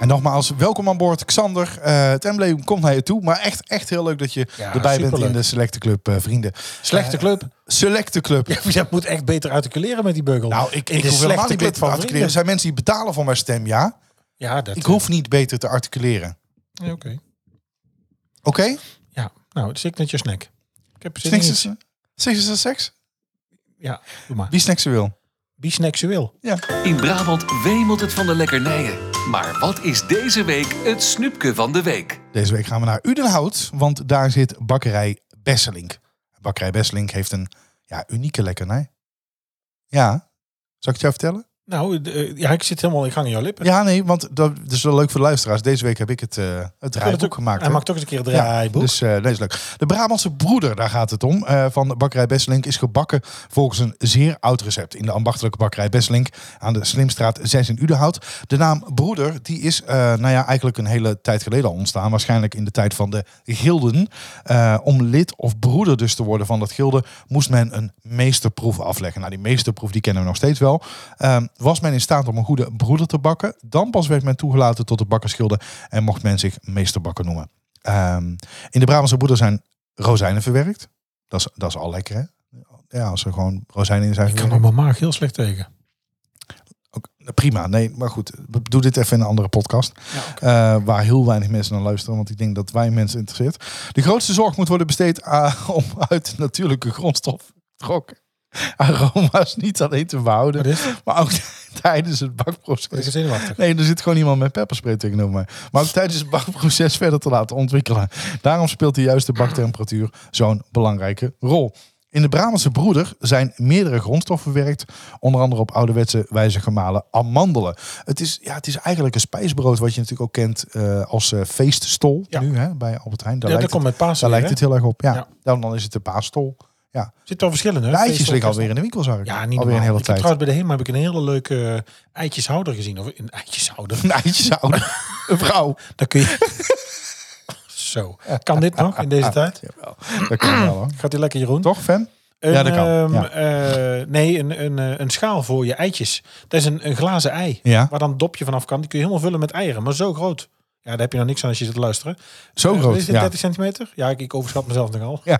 Speaker 1: En nogmaals, welkom aan boord, Xander. Eh, het embleem komt naar je toe. Maar echt, echt heel leuk dat je
Speaker 2: Ja,
Speaker 1: erbij bent
Speaker 2: superleuk.
Speaker 1: in de Selecte Club, eh, vrienden.
Speaker 2: Slechte club.
Speaker 1: Selecte Club.
Speaker 2: Ja, je moet echt beter articuleren met die beugel.
Speaker 1: Nou, ik,
Speaker 2: In
Speaker 1: ik
Speaker 2: de
Speaker 1: hoef helemaal niet beter te
Speaker 2: van
Speaker 1: articuleren. Er zijn mensen die betalen voor mijn stem, ja.
Speaker 2: vrienden. Ja, dat
Speaker 1: Ik hoef niet beter te articuleren.
Speaker 2: Ja, Oké.
Speaker 1: Oké?
Speaker 2: Ja, nou, signature snack. Ik heb zin in
Speaker 1: Snacks
Speaker 2: iets.
Speaker 1: is- Snacks is een seks?
Speaker 2: Ja, doe maar.
Speaker 1: Wie snacks wil.
Speaker 2: Bisnexueel.
Speaker 3: In Brabant wemelt het van de lekkernijen. Maar wat is deze week het snoepje van de week?
Speaker 1: Deze week gaan we naar Udenhout, want daar zit bakkerij Besselink. Bakkerij Besselink heeft een ja, unieke lekkernij. Ja, zal ik het jou vertellen?
Speaker 2: Nou, d- eh, ja, ik zit helemaal in gang in jouw lippen.
Speaker 1: Ja, nee, want dat, dat is wel leuk voor de luisteraars. Deze week heb ik het, eh het
Speaker 2: Ik wil het
Speaker 1: draaiboek
Speaker 2: ook-
Speaker 1: gemaakt.
Speaker 2: Hij
Speaker 1: hè?
Speaker 2: maakt toch eens een keer een
Speaker 1: Ja,
Speaker 2: draaiboek.
Speaker 1: Dus eh dat is leuk. De Brabantse broeder, daar gaat het om, eh, van bakkerij Besselink is gebakken volgens een zeer oud recept in de ambachtelijke bakkerij Besselink aan de Slimstraat 6 in Udenhout. De naam broeder, die is eh, nou ja, eigenlijk een hele tijd geleden al ontstaan, waarschijnlijk in de tijd van de gilden. Eh, om lid of broeder dus te worden van dat gilde, moest men een meesterproef afleggen. Nou, die meesterproef die kennen we nog steeds wel. Ehm, was men in staat om een goede broeder te bakken, dan pas werd men toegelaten tot de bakkersgilde en mocht men zich meesterbakker noemen. Ehm, in de Brabantse boerder zijn rozijnen verwerkt. Dat is, dat is al lekker, hè? Ja, als er gewoon rozijnen in zijn
Speaker 2: ik kan
Speaker 1: verwerkt.
Speaker 2: er mijn maag heel slecht tegen.
Speaker 1: Ook- prima, nee, maar goed. Doe dit even in een andere podcast. eh, waar heel weinig mensen naar luisteren. Want ik denk dat wij mensen interesseert. De grootste zorg moet worden besteed aan, om uit natuurlijke grondstof trokken. Aroma's niet alleen te behouden,
Speaker 2: Wat is het?
Speaker 1: maar ook tijdens het
Speaker 2: Ik ben
Speaker 1: bakproces.
Speaker 2: zenuwachtig.
Speaker 1: Nee, er zit gewoon iemand met pepperspray tegenover mij. Maar ook tijdens het bakproces verder te laten ontwikkelen. Daarom speelt de juiste baktemperatuur zo'n belangrijke rol. In de Brabantse broeder zijn meerdere grondstoffen verwerkt. Onder andere op ouderwetse wijze gemalen amandelen. Het is, ja, het is eigenlijk een spijsbrood wat je natuurlijk ook kent eh, als eh, feeststol.
Speaker 2: Ja.
Speaker 1: Nu hè, bij Albert Heijn. Daar,
Speaker 2: Ja,
Speaker 1: lijkt,
Speaker 2: dat komt
Speaker 1: het,
Speaker 2: met Pasen.
Speaker 1: daar
Speaker 2: weer,
Speaker 1: lijkt het heel erg op. Ja.
Speaker 2: Ja.
Speaker 1: Dan, dan is het de paasstol. Ja.
Speaker 2: hè? Zit wel verschillende.
Speaker 1: De eitjes liggen alweer in de winkel, zag ik.
Speaker 2: Ja, niet
Speaker 1: alweer een
Speaker 2: normaal.
Speaker 1: hele
Speaker 2: Ik heb
Speaker 1: tijd.
Speaker 2: Trouwens, bij de HEMA heb ik een hele leuke eh, eitjeshouder gezien. Of een eitjeshouder.
Speaker 1: Een eitjeshouder. een vrouw.
Speaker 2: Daar kun je... Zo. Kan dit nog in deze tijd?
Speaker 1: Ah, Jawel, dat kan wel hoor.
Speaker 2: Gaat dit lekker, Jeroen?
Speaker 1: Toch, fan?
Speaker 2: Een,
Speaker 1: Ja, dat kan.
Speaker 2: ehm,
Speaker 1: Ja.
Speaker 2: eh, nee, een, een, eh, een schaal voor je eitjes. Dat is een, een glazen ei.
Speaker 1: Ja.
Speaker 2: Waar dan een dopje vanaf kan. Die kun je helemaal vullen met eieren. Maar zo groot. Ja, daar heb je nou niks aan als je zit te luisteren.
Speaker 1: Zo
Speaker 2: Eh,
Speaker 1: groot,
Speaker 2: Is dit
Speaker 1: ja.
Speaker 2: 30 centimeter? Ja, ik, ik overschat mezelf nogal.
Speaker 1: Ja.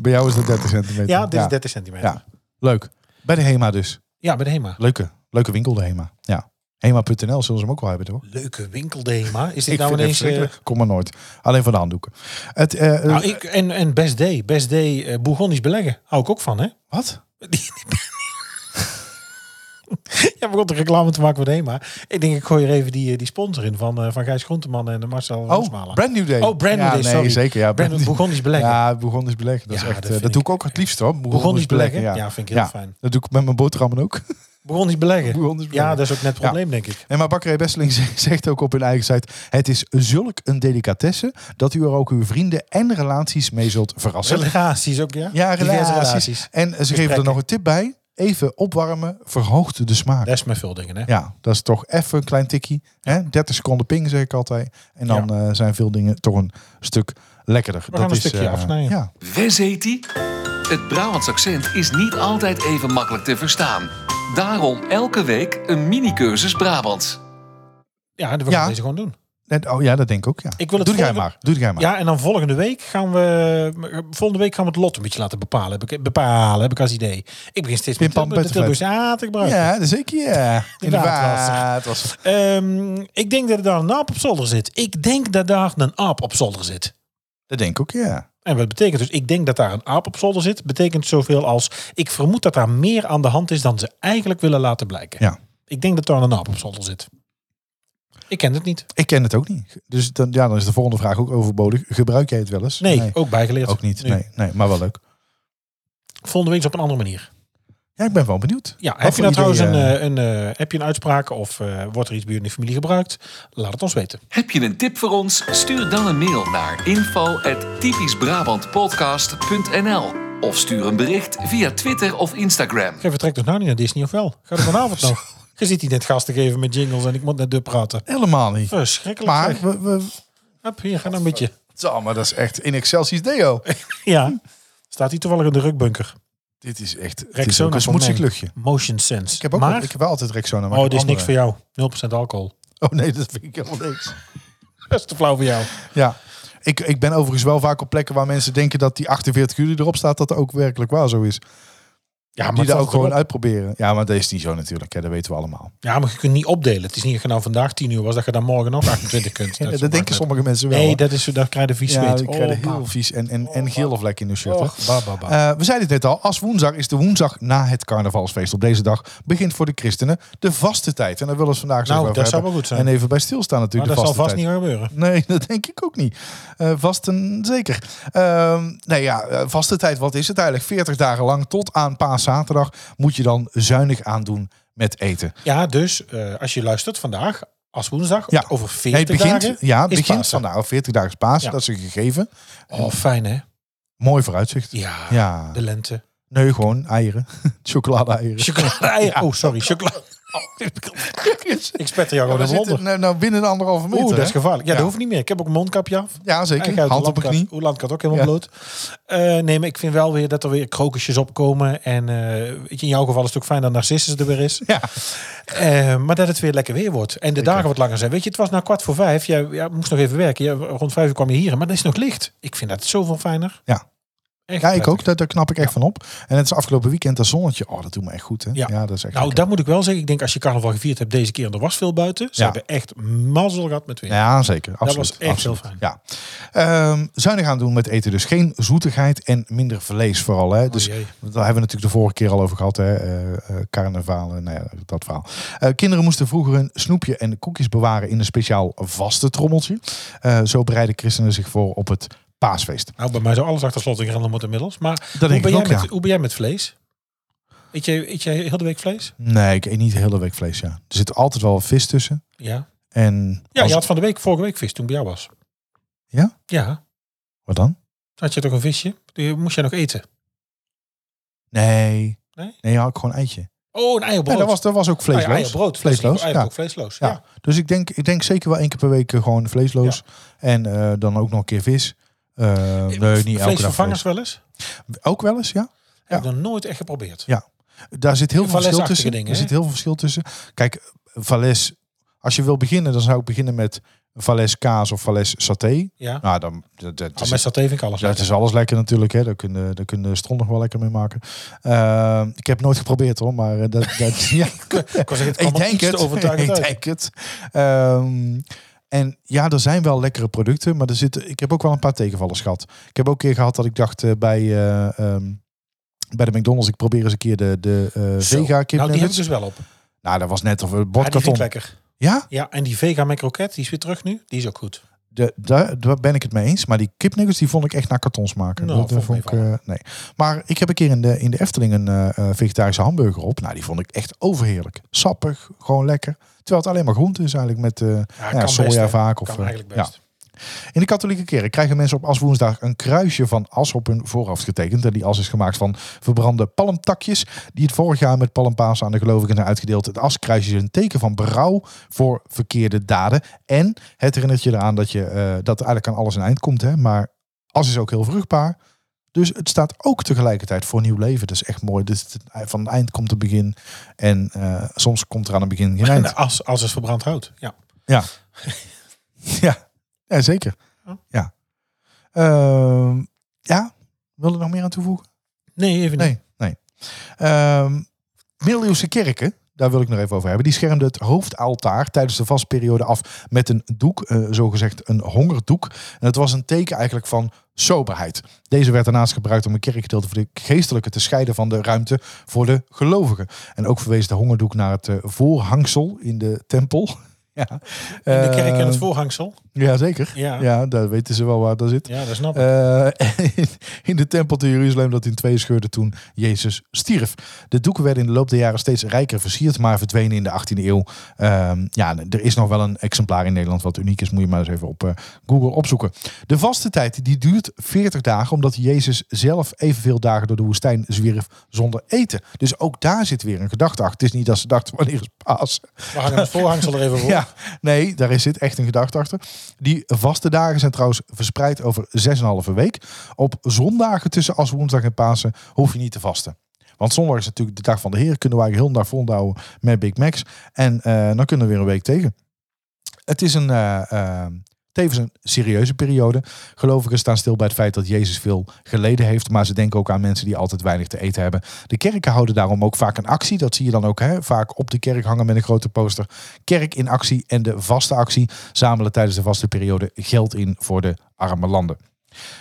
Speaker 1: Bij jou is dat 30 centimeter.
Speaker 2: Ja, dit is 30 centimeter.
Speaker 1: Ja.
Speaker 2: Ja,
Speaker 1: Leuk. Bij de HEMA dus.
Speaker 2: bij de HEMA.
Speaker 1: Leuke, leuke winkel de HEMA. Ja. HEMA.nl zullen ze hem ook wel hebben, toch?
Speaker 2: Leuke winkel, de HEMA. Is dit
Speaker 1: Ik
Speaker 2: nou
Speaker 1: vind het
Speaker 2: ineens... eh,
Speaker 1: verschrikkelijk. Kom maar nooit. Alleen voor de handdoeken. Het, eh, eh,
Speaker 2: nou, ik, en, en Best Day. Best Day eh, Bourgondisch beleggen. Hou ik ook van, hè?
Speaker 1: Wat?
Speaker 2: Die- Ja, begon te reclame te maken voor de HEMA. Ik denk, ik gooi er even die, eh, die sponsor in van, eh, van Gijs Groenteman en eh, Marcel
Speaker 1: Oh,
Speaker 2: Roosmalen.
Speaker 1: Brand New Day.
Speaker 2: Oh, Brand New
Speaker 1: ja,
Speaker 2: Day,
Speaker 1: nee,
Speaker 2: sorry.
Speaker 1: zeker. Ja,
Speaker 2: Brand- Bourgondisch beleggen.
Speaker 1: Ja, Bourgondisch beleggen. Dat,
Speaker 2: Ja,
Speaker 1: is echt,
Speaker 2: dat
Speaker 1: eh, dat
Speaker 2: vind
Speaker 1: doe
Speaker 2: ik-
Speaker 1: ik ook het liefst, hoor. dus
Speaker 2: Bourgondisch beleggen? Ja, vind ik heel
Speaker 1: Ja,
Speaker 2: fijn.
Speaker 1: Dat doe ik met mijn boterhammen ook.
Speaker 2: Bourgondisch beleggen.
Speaker 1: Bourgondisch beleggen.
Speaker 2: Ja, dat is ook net het
Speaker 1: Ja.
Speaker 2: probleem, denk ik.
Speaker 1: Nee, maar Bakkerij Besseling zegt ook op hun eigen site... het is zulk een delicatesse dat u er ook uw vrienden en relaties mee zult verrassen.
Speaker 2: Relaties ook, ja?
Speaker 1: Ja,
Speaker 2: Diverse
Speaker 1: relaties. En ze geven er
Speaker 2: Gesprekken.
Speaker 1: nog een tip bij. Even opwarmen, verhoogt de smaak.
Speaker 2: Dat is met veel dingen, hè?
Speaker 1: Ja, dat is toch even een klein tikkie. Hè? 30 seconden ping, zeg ik altijd. En dan eh, zijn veel dingen toch een stuk lekkerder.
Speaker 2: We gaan
Speaker 1: dat
Speaker 2: een
Speaker 1: is,
Speaker 2: stukje
Speaker 1: eh,
Speaker 2: afsnijden.
Speaker 1: Ja.
Speaker 3: Wes heet die? Het Brabants accent is niet altijd even makkelijk te verstaan. Daarom elke week een mini-cursus Brabants.
Speaker 2: Ja, dan gaan we
Speaker 1: Ja.
Speaker 2: deze gewoon doen.
Speaker 1: En- Oh ja, dat denk ik ook. Ja.
Speaker 2: Ik wil het
Speaker 1: Doe jij
Speaker 2: volgende-
Speaker 1: maar. Doe jij maar.
Speaker 2: Ja, en dan volgende week gaan we... Volgende week gaan we het lot een beetje laten bepalen. Heb ik, bepalen, heb ik als idee. Ik begin steeds met
Speaker 1: Pimpam,
Speaker 2: Tilburg- de
Speaker 1: Pettenvet.
Speaker 2: Tilburgse aan te gebruiken.
Speaker 1: Ja, dat is ik. Ja.
Speaker 2: waardwasser.
Speaker 1: Inderdaad. was het.
Speaker 2: Ehm, ik denk dat er daar een aap op zolder zit. Ik denk dat daar een aap op zolder zit.
Speaker 1: Dat denk ik ook, ja.
Speaker 2: En wat betekent dus, ik denk dat daar een aap op zolder zit, betekent zoveel als, ik vermoed dat daar meer aan de hand is dan ze eigenlijk willen laten blijken.
Speaker 1: Ja.
Speaker 2: Ik denk dat daar een aap op zolder zit. Ik ken het niet.
Speaker 1: Ik ken het ook niet. Dus dan, ja, dan is de volgende vraag ook overbodig. Gebruik jij het wel eens?
Speaker 2: Nee, ook bijgeleerd.
Speaker 1: ook niet.
Speaker 2: Nu.
Speaker 1: Nee, nee, maar wel leuk.
Speaker 2: Volgende week is op een andere manier.
Speaker 1: Ja, ik ben wel benieuwd.
Speaker 2: Ja,
Speaker 1: Wat
Speaker 2: heb je
Speaker 1: voor
Speaker 2: nou trouwens
Speaker 1: idee,
Speaker 2: een,
Speaker 1: eh,
Speaker 2: eh, een, eh, heb je een uitspraak of eh, wordt er iets bij jullie in de familie gebruikt? Laat het ons weten.
Speaker 3: Heb je een tip voor ons? Stuur dan een mail naar info.typischbrabantpodcast.nl of stuur een bericht via Twitter of Instagram.
Speaker 2: Jij vertrekt dus nou niet naar Disney of wel? Ga er vanavond nog. Je zit hier net gasten geven met jingles en Oh, ik moet net deur praten.
Speaker 1: Helemaal niet.
Speaker 2: Verschrikkelijk.
Speaker 1: Maar
Speaker 2: zeg.
Speaker 1: we, we,
Speaker 2: Hup, hier, ga nou een beetje.
Speaker 1: Zo, maar dat is echt in excelsis deo.
Speaker 2: Ja. Staat hier toevallig in de rukbunker.
Speaker 1: Dit is echt het is ook
Speaker 2: Rexona
Speaker 1: een
Speaker 2: van
Speaker 1: smoetsig
Speaker 2: Meng.
Speaker 1: luchtje.
Speaker 2: Motion Sense.
Speaker 1: Ik heb ook
Speaker 2: maar,
Speaker 1: ik heb wel altijd Rexona. Maar
Speaker 2: oh,
Speaker 1: ik
Speaker 2: dit
Speaker 1: heb
Speaker 2: is niks voor
Speaker 1: andere.
Speaker 2: jou. 0% alcohol.
Speaker 1: Oh nee, dat vind ik helemaal niks.
Speaker 2: Dat is te flauw voor jou.
Speaker 1: Ja. Ik, ik ben overigens wel vaak op plekken waar mensen denken dat die 48 uur die erop staat, dat dat ook werkelijk waar zo is.
Speaker 2: Ja,
Speaker 1: die daar
Speaker 2: het staat
Speaker 1: ook gewoon
Speaker 2: erop.
Speaker 1: uitproberen. Ja, maar dat is niet zo natuurlijk. Hè. Dat weten we allemaal.
Speaker 2: Ja, maar je kunt niet opdelen. Het is niet dat je nou vandaag 10 uur was, dat je dan morgen nog 28 kunt.
Speaker 1: Dat,
Speaker 2: maakt
Speaker 1: denken
Speaker 2: net-
Speaker 1: sommige mensen wel.
Speaker 2: Nee,
Speaker 1: hè.
Speaker 2: dat is, daar krijg je vies
Speaker 1: ja,
Speaker 2: weet. Oh,
Speaker 1: ik krijg er heel vies en, en, en gele vlek in de shirt. hè.
Speaker 2: Ba, ba, ba.
Speaker 1: Eh, we zeiden het net al, als woensdag is de woensdag na het carnavalsfeest. Op deze dag begint voor de christenen de vaste tijd. En daar willen we het vandaag zo
Speaker 2: Nou,
Speaker 1: over
Speaker 2: dat zou
Speaker 1: hebben.
Speaker 2: wel goed zijn.
Speaker 1: En even bij stilstaan
Speaker 2: maar
Speaker 1: natuurlijk.
Speaker 2: dat
Speaker 1: de
Speaker 2: zal
Speaker 1: vaste
Speaker 2: vast
Speaker 1: tijd.
Speaker 2: niet gebeuren.
Speaker 1: Nee, dat denk ik ook niet. Eh, vasten zeker. Ehm nou ja, eh, vaste tijd, wat is het eigenlijk? 40 dagen lang tot aan paaszaterdag moet je dan zuinig aandoen met eten.
Speaker 2: Ja, dus eh, als je luistert vandaag, als woensdag,
Speaker 1: Ja.
Speaker 2: over 40
Speaker 1: Nee, het begint,
Speaker 2: dagen.
Speaker 1: ja, het
Speaker 2: is
Speaker 1: begint
Speaker 2: Pasen.
Speaker 1: vandaag. 40 dagen is paas,
Speaker 2: Ja.
Speaker 1: dat is een gegeven.
Speaker 2: Oh, fijn hè?
Speaker 1: Mooi vooruitzicht.
Speaker 2: Ja,
Speaker 1: Ja,
Speaker 2: de lente.
Speaker 1: nee, gewoon eieren. Chocolade-eieren.
Speaker 2: Chocolade. Oh, sorry. Chocolade. Ik spetter jou
Speaker 1: Oh, Ja, we
Speaker 2: gewoon een
Speaker 1: zitten
Speaker 2: wonder.
Speaker 1: nou, nou binnen een anderhalve meter.
Speaker 2: Oeh, dat is
Speaker 1: hè?
Speaker 2: gevaarlijk. Ja,
Speaker 1: Ja.
Speaker 2: dat hoeft niet meer. Ik heb ook een mondkapje af.
Speaker 1: Ja,
Speaker 2: Eigen
Speaker 1: zeker.
Speaker 2: uit de
Speaker 1: Hand op een
Speaker 2: landkaart.
Speaker 1: knie.
Speaker 2: Hoe landkaart ook helemaal
Speaker 1: Ja.
Speaker 2: bloot. Eh, nee, maar ik vind wel weer dat er weer krokusjes opkomen. En eh, weet je, in jouw geval is het ook fijn dat Narcissus er weer is.
Speaker 1: Ja,
Speaker 2: Eh, maar dat het weer lekker weer wordt. En de
Speaker 1: Zeker.
Speaker 2: dagen wat langer zijn. Weet je, het was nou kwart voor vijf. Jij, jij moest nog even werken. Jij- rond vijf uur kwam je hier. Maar dat is nog licht. Ik vind dat zoveel fijner.
Speaker 1: Ja.
Speaker 2: Echt
Speaker 1: ja ik
Speaker 2: prettig.
Speaker 1: ook. Daar, daar knap ik echt van op. En het is afgelopen weekend dat zonnetje. Oh, dat doet me echt goed. Hè?
Speaker 2: Ja.
Speaker 1: dat is echt
Speaker 2: Nou,
Speaker 1: lekker.
Speaker 2: dat moet ik wel zeggen. Ik denk als je carnaval gevierd hebt deze keer en er was veel buiten. Ze
Speaker 1: Ja.
Speaker 2: hebben echt mazzel gehad met weer.
Speaker 1: Ja, zeker. Absoluut.
Speaker 2: was echt
Speaker 1: absoluut.
Speaker 2: heel fijn.
Speaker 1: Ja. Ehm, zuinig aan doen met eten. Dus geen zoetigheid en minder vlees vooral. Hè? Dus
Speaker 2: Oh jee.
Speaker 1: daar hebben we natuurlijk de vorige keer al over gehad. Hè? Eh, eh, carnavalen, nou ja, dat verhaal. Eh, kinderen moesten vroeger hun snoepje en koekjes bewaren in een speciaal vaste trommeltje. Eh, zo bereiden christenen zich voor op het paasfeest.
Speaker 2: Nou, bij mij zou alles achter slot en grendel moeten inmiddels. Maar
Speaker 1: Dat
Speaker 2: hoe
Speaker 1: denk
Speaker 2: ben,
Speaker 1: ik
Speaker 2: jij
Speaker 1: ook, ja.
Speaker 2: met, hoe ben jij met vlees? Eet jij, eet jij heel de week vlees?
Speaker 1: Nee, ik eet niet de hele week vlees, ja. Er zit altijd wel vis tussen.
Speaker 2: Ja.
Speaker 1: En
Speaker 2: Ja,
Speaker 1: als-
Speaker 2: je had van de week, vorige week vis toen ik bij jou was.
Speaker 1: Ja?
Speaker 2: Ja.
Speaker 1: Wat dan?
Speaker 2: Had je toch een visje? Die moest jij nog eten?
Speaker 1: Nee.
Speaker 2: Nee?
Speaker 1: Nee, had ik gewoon eitje.
Speaker 2: Oh, een
Speaker 1: Nee,
Speaker 2: eierbrood.
Speaker 1: dat was, dat was ook
Speaker 2: Ah ja,
Speaker 1: vleesloos.
Speaker 2: eierbrood.
Speaker 1: Vleesloos,
Speaker 2: Eigenlijk
Speaker 1: ja.
Speaker 2: ook vleesloos.
Speaker 1: Ja.
Speaker 2: Ja.
Speaker 1: Dus ik denk, ik denk zeker wel één keer per week eh, gewoon vleesloos. En eh, dan ook nog een keer vis. Eh, nee, niet elke dag
Speaker 2: Vleesvervangers
Speaker 1: vlees.
Speaker 2: wel eens?
Speaker 1: Ook wel eens, ja.
Speaker 2: Heb ik nog nooit echt geprobeerd.
Speaker 1: Daar zit heel veel verschil
Speaker 2: Valesachtige
Speaker 1: tussen.
Speaker 2: dingen,
Speaker 1: er
Speaker 2: hè?
Speaker 1: zit heel veel verschil tussen. Kijk, Vales, als je wil beginnen, dan zou ik beginnen met Vales kaas of Vales saté.
Speaker 2: Ja.
Speaker 1: Nou, dan, dat, dat
Speaker 2: Al
Speaker 1: is
Speaker 2: met saté vind ik alles
Speaker 1: Ja, het
Speaker 2: lekker.
Speaker 1: is alles lekker natuurlijk. Hè. Daar kunnen daar kunnen de stront nog wel lekker mee maken. Ehm, ik heb het nooit geprobeerd hoor, maar eh, dat, dat ja,
Speaker 2: Ik was het kwam er iets te overtuigend
Speaker 1: ik
Speaker 2: uit.
Speaker 1: denk het. Ehm, en ja, er zijn wel lekkere producten, maar er zitten, ik heb ook wel een paar tegenvallers gehad. Ik heb ook een keer gehad dat ik dacht eh, bij, eh, ehm, bij de McDonald's, ik probeer eens een keer de, de eh,
Speaker 2: Zo.
Speaker 1: vega kip
Speaker 2: Nou, die heb ik
Speaker 1: nuggets.
Speaker 2: dus wel op. Ja,
Speaker 1: Nou, dat was net of een
Speaker 2: die vind
Speaker 1: bordkarton.
Speaker 2: ik lekker.
Speaker 1: Ja,
Speaker 2: Ja, en die vega met kroket, die is weer terug nu. Die is ook goed.
Speaker 1: de, daar, daar ben ik het mee eens. Maar die kipnuggets die vond ik echt naar kartons maken.
Speaker 2: Nou,
Speaker 1: dat eh,
Speaker 2: vond
Speaker 1: vond
Speaker 2: ik
Speaker 1: ik, eh, nee. Maar ik heb een keer in de, in de Efteling een eh, eh, vegetarische hamburger op. Nou, die vond ik echt overheerlijk. Sappig, gewoon lekker. Terwijl het alleen maar groente is eigenlijk met eh, nou ja,
Speaker 2: kan
Speaker 1: soja
Speaker 2: best, hè.
Speaker 1: vaak. Of,
Speaker 2: Kan
Speaker 1: eh,
Speaker 2: eigenlijk
Speaker 1: ja.
Speaker 2: best.
Speaker 1: In de katholieke kerk krijgen mensen op aswoensdag een kruisje van as op hun voorhoofd getekend. En die as is gemaakt van verbrande palmtakjes die het vorig jaar met palmpaas aan de gelovigen zijn uitgedeeld. Het askruisje is een teken van berouw voor verkeerde daden. En het herinnert je eraan dat, je, eh, dat eigenlijk aan alles een eind komt. Hè? Maar as is ook heel vruchtbaar. Dus het staat ook tegelijkertijd voor nieuw leven. Dat is echt mooi. Dus het- van het eind komt het begin. En eh, soms komt er aan het begin geen eind.
Speaker 2: En Als, als is verbrand hout. Ja.
Speaker 1: Ja. ja. ja, zeker.
Speaker 2: Ja.
Speaker 1: Ja. Ehm, ja, wil er nog meer aan toevoegen?
Speaker 2: Nee, even niet.
Speaker 1: Nee, nee. Ehm middeleeuwse kerken, daar wil ik nog even over hebben. Die schermden het hoofdaltaar tijdens de vastperiode af met een doek, eh zogezegd een hongerdoek. En het was een teken eigenlijk van soberheid. Deze werd daarnaast gebruikt om een kerkgedeelte voor de geestelijke te scheiden van de ruimte voor de gelovigen. En ook verwees de hongerdoek naar het eh, voorhangsel in de tempel. Ja.
Speaker 2: In de kerk en het
Speaker 1: Eh,
Speaker 2: voorhangsel.
Speaker 1: Jazeker.
Speaker 2: Ja. ja.
Speaker 1: Ja, daar weten ze wel waar dat zit.
Speaker 2: dat snap ik.
Speaker 1: Eh, in, in de tempel te Jeruzalem dat in twee scheurde toen Jezus stierf. De doeken werden in de loop der jaren steeds rijker versierd, maar verdwenen in de 18e eeuw. Ehm, ja, er is nog wel een exemplaar in Nederland wat uniek is. Moet je maar eens even op eh, Google opzoeken. De vaste tijd die duurt 40 dagen, omdat Jezus zelf evenveel dagen door de woestijn zwierf zonder eten. Dus ook daar zit weer een gedachte achter. Het is niet dat ze dachten, wanneer is Pasen?
Speaker 2: We hangen het voorhangsel er even voor.
Speaker 1: Ja, Ja, nee, daar is dit echt een gedachte achter. Die vaste dagen zijn trouwens verspreid over 6,5 week. Op zondagen tussen als woensdag en Pasen hoef je niet te vasten. Want zondag is natuurlijk de dag van de Heer. Kunnen we eigenlijk heel dag volhouden met Big Macs. En eh, dan kunnen we weer een week tegen. Het is een, eh, eh, tevens een serieuze periode. Gelovigen staan stil bij het feit dat Jezus veel geleden heeft. Maar ze denken ook aan mensen die altijd weinig te eten hebben. De kerken houden daarom ook vaak een actie. Dat zie je dan ook hè? vaak op de kerk hangen met een grote poster. Kerk in actie en de vaste actie zamelen tijdens de vaste periode geld in voor de arme landen.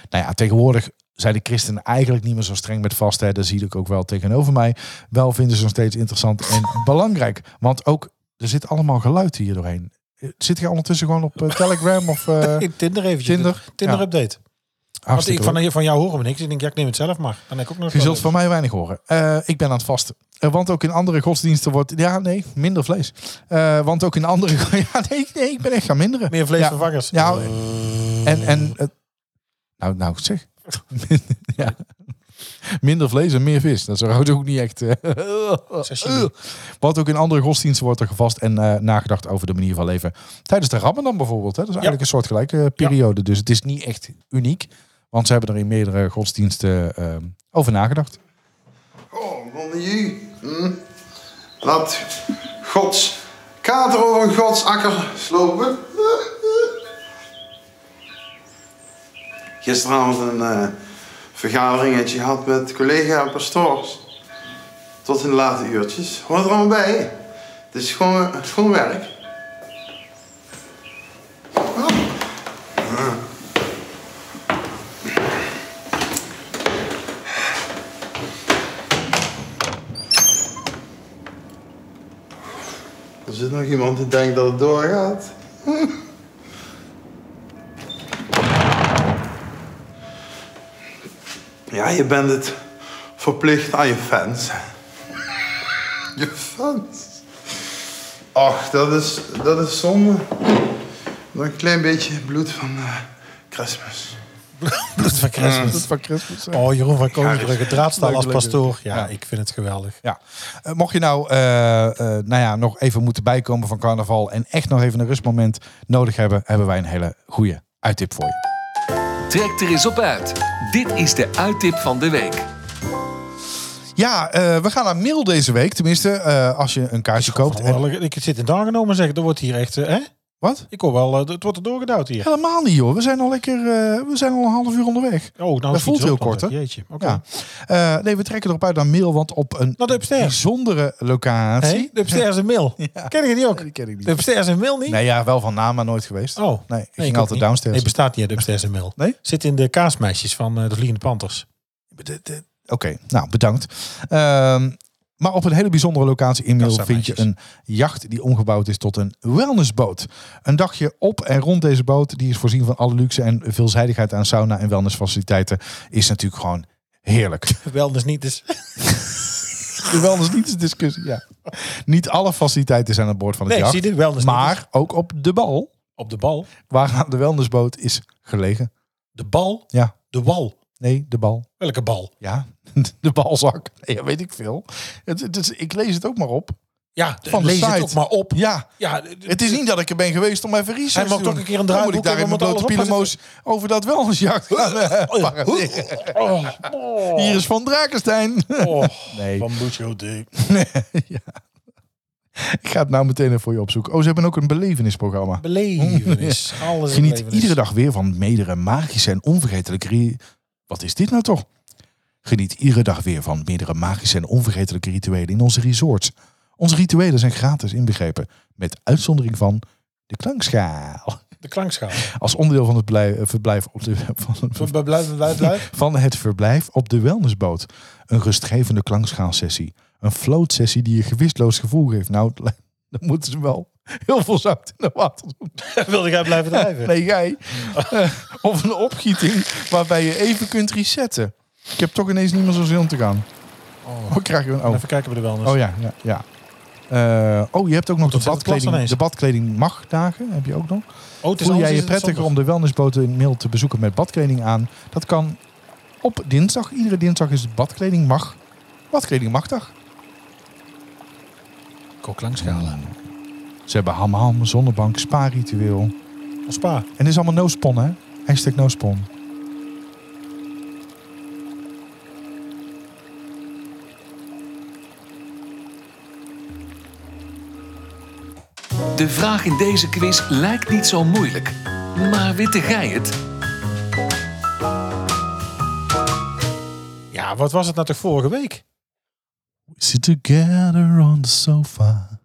Speaker 1: Nou ja, tegenwoordig zijn de christenen eigenlijk niet meer zo streng met vasten. hè. Dat zie ik ook wel tegenover mij. Wel vinden ze nog steeds interessant en belangrijk. Want ook, er zit allemaal geluid hier doorheen. Eh, Zit je ondertussen gewoon op eh, Telegram of eh,
Speaker 2: Ik Tinder eventjes.
Speaker 1: Tinder?
Speaker 2: Tinder
Speaker 1: Ja.
Speaker 2: update. Want
Speaker 1: hartstikke
Speaker 2: ik van, van jou horen we niks. Ik denk, ja, ik neem het zelf maar. Dan heb ik ook nog
Speaker 1: Je
Speaker 2: wel
Speaker 1: zult
Speaker 2: even.
Speaker 1: van mij weinig horen. Eh, ik ben aan het vasten. Eh, want ook in andere godsdiensten wordt... Ja, nee, minder vlees. Eh, want ook in andere... Ja, nee, nee, ik ben echt gaan minderen.
Speaker 2: Meer vleesvervangers.
Speaker 1: Ja, ja, En, en eh, nou, nou zeg. ja. Minder vlees en meer vis. Dat zou ook niet echt.
Speaker 2: Sashimi.
Speaker 1: Wat Want ook in andere godsdiensten wordt er gevast en eh, nagedacht over de manier van leven. Tijdens de Ramadan bijvoorbeeld. Hè? Dat is eigenlijk een soortgelijke eh, periode. Dus het is niet echt uniek. Want ze hebben er in meerdere godsdiensten eh, over nagedacht.
Speaker 4: Oh, mon Dieu. Hm? Laat Gods kater over een Gods akker slopen. Gisteravond een eh, vergaderingetje gehad met collega en pastoors. Tot in de late uurtjes. Hoort er allemaal bij. hè? Het is gewoon, het is gewoon werk. Er zit nog iemand die denkt dat het doorgaat. Ja, je bent het verplicht aan je fans. Je fans? Ach, dat is, dat is zonde. Nog een klein beetje bloed van eh, Christmas.
Speaker 2: Bloed van Christmas.
Speaker 1: Van Christmas.
Speaker 2: Oh, Jeroen van Koningsbrugge, draadstaal als
Speaker 1: Leuk, leuk.
Speaker 2: pastoor. Ja, ik vind het geweldig.
Speaker 1: Ja. Eh, mocht je nou, eh, eh, nou ja, nog even moeten bijkomen van carnaval en echt nog even een rustmoment nodig hebben, hebben wij een hele goede uittip voor je.
Speaker 3: Trek er eens op uit. Dit is de uittip van de week.
Speaker 1: Ja, eh, we gaan naar mail deze week. Tenminste, eh, als je een kaartje koopt. En,
Speaker 2: Geweldig. eh, Ik zit in de aangenomen zeg, er wordt hier echt... eh, Hè?
Speaker 1: wat?
Speaker 2: Ik hoor wel, eh, het wordt er doorgedouwd hier.
Speaker 1: Helemaal niet, joh. We zijn al lekker, eh, we zijn al een half uur onderweg.
Speaker 2: Oh, nou
Speaker 1: Dat
Speaker 2: is
Speaker 1: voelt
Speaker 2: iets op,
Speaker 1: heel kort,
Speaker 2: want,
Speaker 1: hè?
Speaker 2: Jeetje, oké.
Speaker 1: Ja. Eh, nee, we trekken erop uit naar mail, want op een
Speaker 2: Nou, de upstairs.
Speaker 1: bijzondere locatie.
Speaker 2: Hé, de upstairs een mail. Ken je die ook?
Speaker 1: Nee, die ken ik niet.
Speaker 2: De upstairs een mail niet?
Speaker 1: Nee, ja, wel van naam, maar nooit geweest.
Speaker 2: Oh.
Speaker 1: Nee, ik
Speaker 2: ook
Speaker 1: ging altijd
Speaker 2: niet.
Speaker 1: downstairs.
Speaker 2: Nee, bestaat niet, de upstairs een mail.
Speaker 1: Nee?
Speaker 2: Zit in de kaasmeisjes van eh, de Vliegende Panthers.
Speaker 1: De- de- Oké, nou bedankt. Ehm, maar op een hele bijzondere locatie in Middel
Speaker 2: zijn
Speaker 1: vind je
Speaker 2: meisjes.
Speaker 1: een jacht die omgebouwd is tot een wellnessboot. Een dagje op en rond deze boot, die is voorzien van alle luxe en veelzijdigheid aan sauna en wellnessfaciliteiten, is natuurlijk gewoon heerlijk.
Speaker 2: Wel, dus niet. Dus...
Speaker 1: De wellness niet is discussie, ja. Niet alle faciliteiten zijn aan boord van het
Speaker 2: Nee,
Speaker 1: jacht,
Speaker 2: zie je, wel, dus niet.
Speaker 1: maar ook op de bal,
Speaker 2: Op de bal.
Speaker 1: waaraan de wellnessboot is gelegen.
Speaker 2: De bal.
Speaker 1: Ja,
Speaker 2: De wal.
Speaker 1: nee, de bal.
Speaker 2: Welke bal?
Speaker 1: Ja, de balzak. Nee, ja, weet ik veel. Het, het is, ik lees het ook maar op.
Speaker 2: Ja,
Speaker 1: Van de
Speaker 2: lees het
Speaker 1: site.
Speaker 2: ook maar op.
Speaker 1: Ja,
Speaker 2: Ja,
Speaker 1: Het is niet dat ik er ben geweest om even research
Speaker 2: Hij
Speaker 1: te
Speaker 2: mag
Speaker 1: doen.
Speaker 2: toch een keer een
Speaker 1: Dan
Speaker 2: draaiboek
Speaker 1: moet ik daar in
Speaker 2: hebben
Speaker 1: mijn
Speaker 2: met
Speaker 1: blote
Speaker 2: alles op.
Speaker 1: pielemoos over dat wellnessjacht gaan eh, paraderen.
Speaker 2: Oh,
Speaker 1: Hier is Van Drakenstein.
Speaker 2: oh.
Speaker 1: Nee,
Speaker 2: Van Buccio Dick.
Speaker 1: ik ga het nou meteen even voor je opzoeken. Oh, ze hebben ook een belevenisprogramma.
Speaker 2: Belevenis. Alles een
Speaker 1: Geniet
Speaker 2: belevenis.
Speaker 1: iedere dag weer van meerdere magische en onvergetelijke... ri- Wat is dit nou toch? Geniet iedere dag weer van meerdere magische en onvergetelijke rituelen in onze resorts. Onze rituelen zijn gratis inbegrepen, met uitzondering van de klankschaal.
Speaker 2: De klankschaal.
Speaker 1: Als onderdeel van het blij- verblijf op de, van het
Speaker 2: Blijf, blijf, blijf, blijf.
Speaker 1: van het verblijf op de wellnessboot. Een rustgevende klankschaalsessie. Een floatsessie die je gewistloos gevoel geeft. Nou, het lijkt- dan moeten ze wel heel veel zout in de water doen.
Speaker 2: Wilde jij blijven drijven?
Speaker 1: Nee, jij. Eh, of een opgieting waarbij je even kunt resetten. Ik heb toch ineens niet meer zo'n zin om te gaan.
Speaker 2: Oh.
Speaker 1: Oh, ik krijg je een oh.
Speaker 2: Even kijken bij de wellness.
Speaker 1: Oh ja, ja, ja. Eh, oh, je hebt ook nog de
Speaker 2: Ontzettend plassen
Speaker 1: badkleding,
Speaker 2: ineens.
Speaker 1: de badkleding magdagen. Heb je ook nog?
Speaker 2: Oh, het is
Speaker 1: Voel jij
Speaker 2: anders
Speaker 1: je
Speaker 2: is het
Speaker 1: prettiger
Speaker 2: zondag.
Speaker 1: om de wellnessboten in mail te bezoeken met badkleding aan? Dat kan op dinsdag. Iedere dinsdag is het badkleding mag. Badkleding magdag.
Speaker 2: Ik hoor klankschalen.
Speaker 1: Ze hebben hamham, zonnebank, spa-ritueel.
Speaker 2: Als spa.
Speaker 1: En dit is allemaal no-spon, hè? Hashtag no-spon.
Speaker 3: De vraag in deze quiz lijkt niet zo moeilijk. Maar witte gij het?
Speaker 2: Ja, wat was het nou toch vorige week?
Speaker 1: We sit together on the sofa.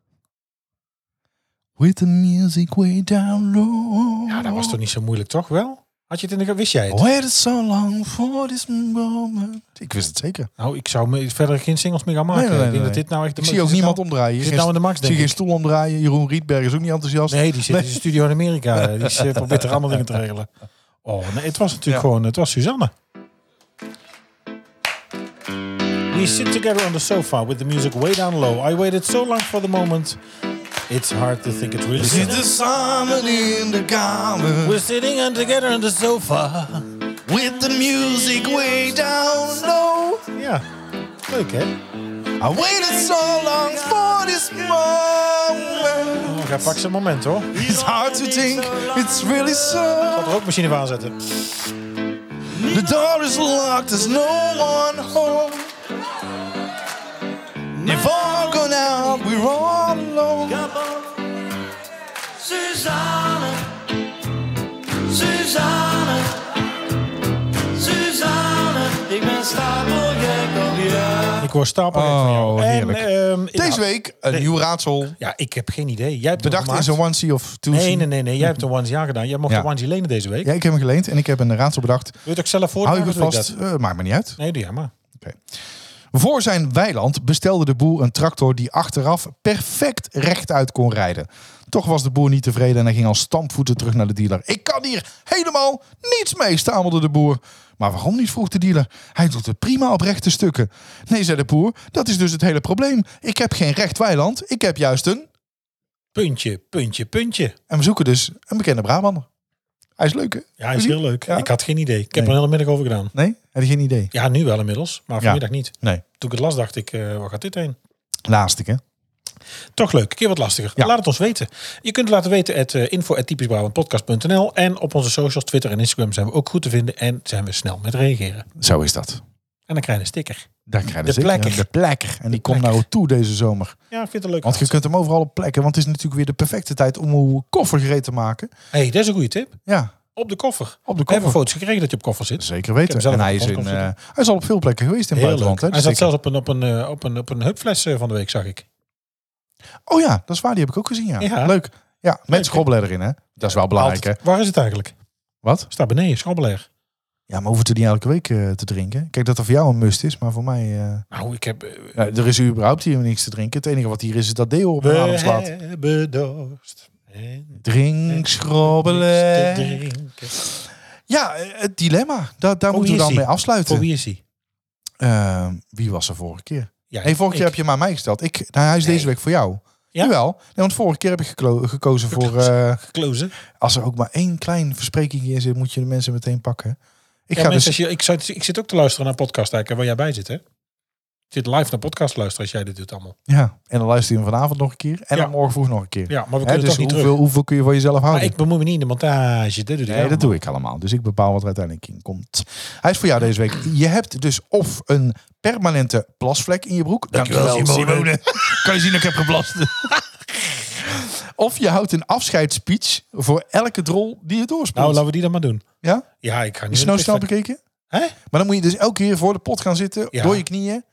Speaker 1: With the music way down low.
Speaker 2: Ja, dat was toch niet zo moeilijk, toch wel? Had je het in de ge- Wist jij het?
Speaker 1: Waited so long for this moment. Ik wist het zeker.
Speaker 2: Nou, ik zou me verder geen singles meer gaan maken.
Speaker 1: Nee, nee,
Speaker 2: ik denk
Speaker 1: nee.
Speaker 2: dat dit nou echt... de
Speaker 1: Ik
Speaker 2: mo-
Speaker 1: zie ook
Speaker 2: zit
Speaker 1: niemand
Speaker 2: nou-
Speaker 1: omdraaien.
Speaker 2: zit
Speaker 1: Geen
Speaker 2: nou in de max,
Speaker 1: st- zie
Speaker 2: denk
Speaker 1: geen
Speaker 2: ik.
Speaker 1: stoel omdraaien. Jeroen Rietberg is ook niet enthousiast.
Speaker 2: Nee, die zit in
Speaker 1: Nee.
Speaker 2: de studio in Amerika. Die zit- probeert er allemaal dingen te regelen. Oh, nee, het was natuurlijk
Speaker 1: Ja.
Speaker 2: gewoon... Het was Suzanne. We sit together on the sofa with the music way down low. I waited so long for the moment. It's hard to think it really
Speaker 1: Zit
Speaker 2: is.
Speaker 1: de samen in de kamer.
Speaker 2: We're sitting on together on the sofa.
Speaker 1: With the music way down low.
Speaker 2: Ja, leuk hè?
Speaker 1: I waited so long for this moment.
Speaker 2: Ga pak zijn moment hoor. Ik
Speaker 1: It's hard to think, it's really
Speaker 2: zal
Speaker 1: so.
Speaker 2: de rookmachine even aanzetten.
Speaker 1: The door is locked, there's no one home. If all gone out, we're all alone.
Speaker 5: Suzanne, Suzanne, Suzanne, ik ben stapelgek op jou.
Speaker 2: Ik hoor stapel van jou.
Speaker 1: Oh, heerlijk.
Speaker 2: En, ehm, ik-
Speaker 1: Deze week een nieuw raadsel.
Speaker 2: Ja, ik heb geen idee. Jij hebt
Speaker 1: Bedacht
Speaker 2: hem
Speaker 1: in
Speaker 2: gemaakt.
Speaker 1: zo'n onesie of two
Speaker 2: Nee, nee, nee, nee. Jij hebt een onesie ja gedaan. Jij mocht
Speaker 1: Ja.
Speaker 2: een onesie lenen deze week.
Speaker 1: Ja, ik heb hem geleend en ik heb een raadsel bedacht.
Speaker 2: Wil je het ook zelf voor?
Speaker 1: Hou je goed vast, Eh, maakt me niet uit.
Speaker 2: Nee, doe jij maar.
Speaker 1: Voor zijn weiland bestelde de boer een tractor die achteraf perfect rechtuit kon rijden. Toch was de boer niet tevreden en hij ging al stampvoeten terug naar de dealer. Ik kan hier helemaal niets mee, stamelde de boer. Maar waarom niet, vroeg de dealer. Hij doet het prima op rechte stukken. Nee, zei de boer, dat is dus het hele probleem. Ik heb geen recht weiland, ik heb juist een...
Speaker 2: Puntje, puntje, puntje.
Speaker 1: En we zoeken dus een bekende Brabander. Hij is leuk, hè?
Speaker 2: Ja, hij is heel leuk.
Speaker 1: Ja?
Speaker 2: Ik had geen idee. Ik heb er
Speaker 1: Nee.
Speaker 2: een hele middag over gedaan.
Speaker 1: Nee? Heb je geen idee?
Speaker 2: Ja, nu wel inmiddels, maar
Speaker 1: Ja.
Speaker 2: vanmiddag niet.
Speaker 1: Nee.
Speaker 2: Toen ik het las, dacht ik, eh, waar gaat dit heen?
Speaker 1: Laatste, hè?
Speaker 2: Toch leuk, een keer wat lastiger.
Speaker 1: Ja.
Speaker 2: Laat het ons weten. Je kunt het laten weten at eh, info at typischbrabantpodcast.nl en op onze socials, Twitter en Instagram zijn we ook goed te vinden en zijn we snel met reageren.
Speaker 1: Zo is dat.
Speaker 2: En dan krijg je een sticker.
Speaker 1: Daar krijg je
Speaker 2: De
Speaker 1: zeker-
Speaker 2: plekker.
Speaker 1: De plekker. En die komt
Speaker 2: plekker.
Speaker 1: naar nou toe deze zomer.
Speaker 2: Ja, ik vind het een leuk.
Speaker 1: Want je kunt hem overal op plekken. Want het is natuurlijk weer de perfecte tijd om uw koffer gereed te maken.
Speaker 2: hey, dat is een goede tip.
Speaker 1: Ja,
Speaker 2: Op de koffer.
Speaker 1: op de
Speaker 2: We hebben
Speaker 1: koffer.
Speaker 2: foto's gekregen dat je op koffer zit.
Speaker 1: Zeker
Speaker 2: Ik heb
Speaker 1: weten.
Speaker 2: zelf
Speaker 1: En
Speaker 2: op
Speaker 1: hij
Speaker 2: de
Speaker 1: is, in,
Speaker 2: koffer
Speaker 1: eh, hij is al op veel plekken geweest in het
Speaker 2: Heel
Speaker 1: buitenland.
Speaker 2: leuk.
Speaker 1: Hè,
Speaker 2: Hij
Speaker 1: dus
Speaker 2: zat
Speaker 1: ik-
Speaker 2: zelfs op een, op een, eh, op een, op een hubfles eh, van de week, zag ik.
Speaker 1: Oh ja, dat is waar. Die heb ik ook gezien. Ja.
Speaker 2: Ja.
Speaker 1: Leuk. Ja,
Speaker 2: Leuk, hè?
Speaker 1: met schrobbelen erin. Hè. Dat is wel belangrijk. Hè.
Speaker 2: Altijd. Waar is het eigenlijk?
Speaker 1: Wat?
Speaker 2: Staat beneden, schrobbeler.
Speaker 1: Ja, maar hoeft het niet elke week eh, te drinken. Kijk, dat er voor jou een must is. Maar voor mij... eh,
Speaker 2: Nou, ik heb... eh,
Speaker 1: ja, er is überhaupt hier niks te drinken. Het enige wat hier is, is dat deo op
Speaker 2: We
Speaker 1: een adem
Speaker 2: eh.
Speaker 1: slaat.
Speaker 2: hebben dorst. En
Speaker 1: Drink,
Speaker 2: Eh, niks te
Speaker 1: schrobbelen.
Speaker 2: drinken.
Speaker 1: Ja, eh, het dilemma. Daar, daar
Speaker 2: Voor
Speaker 1: moeten we
Speaker 2: wie is
Speaker 1: dan mee
Speaker 2: hij? Voor
Speaker 1: afsluiten.
Speaker 2: wie Oh, is hij?
Speaker 1: Eh, wie was er vorige keer?
Speaker 2: Ja,
Speaker 1: Nee, vorige keer heb je maar mij gesteld. Ik, nou, hij is deze
Speaker 2: Nee.
Speaker 1: week voor jou.
Speaker 2: Ja?
Speaker 1: Jawel. Nee, want vorige keer heb ik geklo- gekozen voor... eh,
Speaker 2: Close.
Speaker 1: als er ook maar één klein verspreking in zit, moet je de mensen meteen pakken. Ik
Speaker 2: ja,
Speaker 1: ga
Speaker 2: mensen,
Speaker 1: dus...
Speaker 2: als je, ik, zat- ik zit ook te luisteren naar podcast kijken waar jij bij zit, hè? Ik zit live naar podcast luisteren als jij dit doet allemaal.
Speaker 1: Ja, en dan luister je hem vanavond nog een keer. En
Speaker 2: Ja.
Speaker 1: dan morgen vroeg nog een keer.
Speaker 2: Ja, maar we
Speaker 1: Hè,
Speaker 2: kunnen
Speaker 1: dus
Speaker 2: toch niet
Speaker 1: hoeveel,
Speaker 2: terug.
Speaker 1: hoeveel kun je van jezelf
Speaker 2: Maar
Speaker 1: houden?
Speaker 2: ik bemoei me niet in de montage. Dat doe, ik
Speaker 1: Nee,
Speaker 2: allemaal.
Speaker 1: dat doe ik allemaal. Dus ik bepaal wat er uiteindelijk in komt. Hij is voor jou deze week. Je hebt dus of een permanente plasvlek in je broek. Dankjewel, Simone. kan je zien, ik heb geblast. of je houdt een afscheidsspeech voor elke drol die je doorspeelt.
Speaker 2: Nou, laten we die dan maar doen.
Speaker 1: ja?
Speaker 2: Ja, ik ga niet...
Speaker 1: Is
Speaker 2: in
Speaker 1: nou
Speaker 2: de
Speaker 1: snel
Speaker 2: pit-
Speaker 1: bekeken?
Speaker 2: Hè?
Speaker 1: Maar dan moet je dus elke keer voor de pot gaan zitten.
Speaker 2: Ja.
Speaker 1: Door je knieën.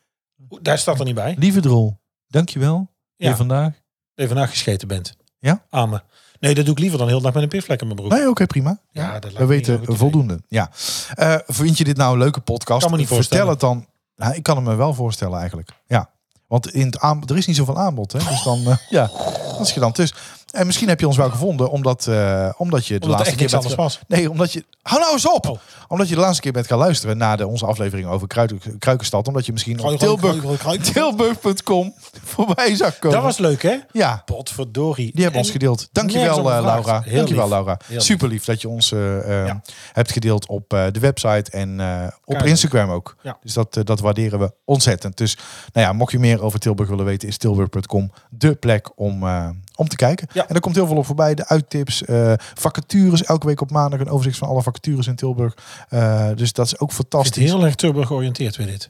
Speaker 2: Oeh, Daar staat er niet bij.
Speaker 1: Lieve drol, dankjewel.
Speaker 2: Ja.
Speaker 1: Weer vandaag.
Speaker 2: Dat je vandaag gescheten bent.
Speaker 1: Ja?
Speaker 2: Amen. Nee, dat doe ik liever dan heel de dag met een pifvlek in mijn broek.
Speaker 1: Nee, oké, prima.
Speaker 2: Ja, dat lijkt
Speaker 1: we
Speaker 2: me niet een
Speaker 1: weten
Speaker 2: goed
Speaker 1: voldoende. Ja. Eh, vind je dit nou een leuke podcast?
Speaker 2: Kan me niet
Speaker 1: Vertel
Speaker 2: voorstellen.
Speaker 1: het dan. Nou, ik kan het me wel voorstellen eigenlijk. Ja. Want in het aanbod, er is niet zoveel aanbod. Hè? Dus dan, eh, ja, dat is je dan tussen. En misschien heb je ons wel gevonden omdat, eh, omdat je de
Speaker 2: Omdat er
Speaker 1: laatste
Speaker 2: echt
Speaker 1: keer
Speaker 2: niks
Speaker 1: bent
Speaker 2: anders
Speaker 1: ge-
Speaker 2: was.
Speaker 1: Nee, omdat je. Hou nou eens op!
Speaker 2: Oh.
Speaker 1: Omdat je de laatste keer bent gaan luisteren naar de, onze aflevering over Kruiken- Kruikenstad. Omdat je misschien op
Speaker 2: Gooi, gooi,
Speaker 1: Tilburg-
Speaker 2: gooi, gooi, gooi.
Speaker 1: Tilburg.com voorbij zag komen.
Speaker 2: Dat was leuk, hè?
Speaker 1: ja.
Speaker 2: Potverdorie.
Speaker 1: Die hebben
Speaker 2: En
Speaker 1: ons gedeeld. Dankjewel,
Speaker 2: nergens om
Speaker 1: eh,
Speaker 2: gevraagd.
Speaker 1: Laura.
Speaker 2: Heel
Speaker 1: Dankjewel,
Speaker 2: lief.
Speaker 1: Laura.
Speaker 2: Heel lief.
Speaker 1: Super lief dat je ons eh, eh,
Speaker 2: Ja.
Speaker 1: hebt gedeeld op eh, de website en eh, op
Speaker 2: Kijk.
Speaker 1: Instagram ook.
Speaker 2: Ja.
Speaker 1: Dus dat, eh, dat waarderen we ontzettend. Dus nou ja, mocht je meer over Tilburg willen weten, is tilburg.com de plek om, eh, om te kijken.
Speaker 2: Ja.
Speaker 1: En er komt heel veel op voorbij. De uittips, eh, vacatures. Elke week op maandag een overzicht van alle vacatures in Tilburg. Eh, dus dat is ook
Speaker 2: Als het
Speaker 1: fantastisch.
Speaker 2: heel erg Tilburg georiënteerd weer dit.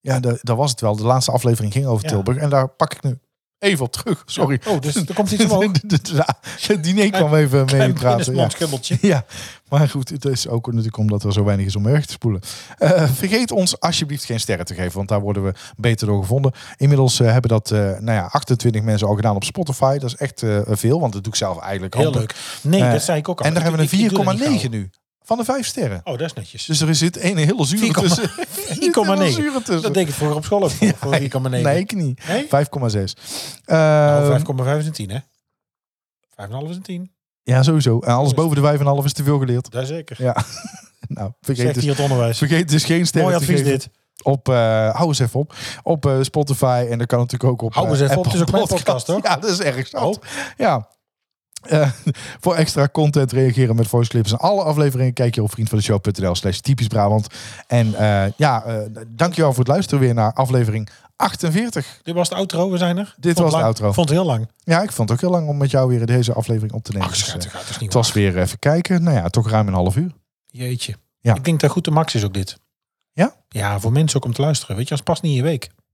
Speaker 1: Ja, da- dat was het wel. De laatste aflevering ging over
Speaker 2: Ja.
Speaker 1: Tilburg. En daar pak ik nu even op terug. Sorry.
Speaker 2: Oh, dus er komt iets omhoog.
Speaker 1: De- de- de- Het diner kwam even mee praten. Ja.
Speaker 2: Een
Speaker 1: Ja, maar goed, het is ook natuurlijk omdat er zo weinig is om weg te spoelen. Eh, vergeet ons alsjeblieft geen sterren te geven, want daar worden we beter door gevonden. Inmiddels eh, hebben dat eh, nou ja, 28 mensen al gedaan op Spotify. Dat is echt eh, veel, want dat doe ik zelf eigenlijk
Speaker 2: Heel
Speaker 1: amper.
Speaker 2: leuk. Nee,
Speaker 1: Eh,
Speaker 2: dat zei ik ook al.
Speaker 1: En daar
Speaker 2: Ik-
Speaker 1: hebben
Speaker 2: ik- ik doe dat
Speaker 1: we
Speaker 2: niet
Speaker 1: een 4,9 nu van de 5 sterren.
Speaker 2: gauw. Oh, dat is netjes.
Speaker 1: Dus er zit een hele zure
Speaker 2: 4,9.
Speaker 1: tussen. Er zit een hele zure
Speaker 2: 4,9. Dat
Speaker 1: tussen.
Speaker 2: deed ik het vroeger op school ook. Voor, voor 4,9.
Speaker 1: Nee, ik niet.
Speaker 2: Nee?
Speaker 1: 5,6.
Speaker 2: Nou,
Speaker 1: Eh
Speaker 2: 5,5 is een 10, hè? 5,5 is een 10.
Speaker 1: ja, sowieso. En alles boven de 5,5 is te veel geleerd.
Speaker 2: Daar zeker.
Speaker 1: Nou,
Speaker 2: Zegt
Speaker 1: vergeet dus,
Speaker 2: hier het onderwijs.
Speaker 1: vergeet dus geen sterren
Speaker 2: Mooi
Speaker 1: te
Speaker 2: advies
Speaker 1: geven.
Speaker 2: dit.
Speaker 1: op, eh hou eens even op, op eh, Spotify en dat kan natuurlijk ook op
Speaker 2: Hou eens
Speaker 1: eh,
Speaker 2: even op, het is ook mijn podcast, hoor.
Speaker 1: Ja, dat is erg zat. Ja. Eh, voor extra content reageren met voice clips en alle afleveringen kijk je op vriendvandeshow.nl slash typisch Brabant. En eh, ja, eh, dankjewel voor het luisteren weer naar aflevering 48.
Speaker 2: Dit was de outro, we zijn er.
Speaker 1: Dit was de
Speaker 2: lang-
Speaker 1: outro.
Speaker 2: Vond het heel lang.
Speaker 1: Ja, ik vond het ook heel lang om met jou weer deze aflevering op te nemen.
Speaker 2: Ach,
Speaker 1: Dus, eh,
Speaker 2: schat, dat is niet
Speaker 1: het was weer even kijken. Nou ja, toch ruim een half uur.
Speaker 2: Jeetje.
Speaker 1: Ja.
Speaker 2: Ik denk dat goed de max is ook dit.
Speaker 1: Ja?
Speaker 2: Ja, voor mensen ook om te luisteren. Weet je, als past niet in je week.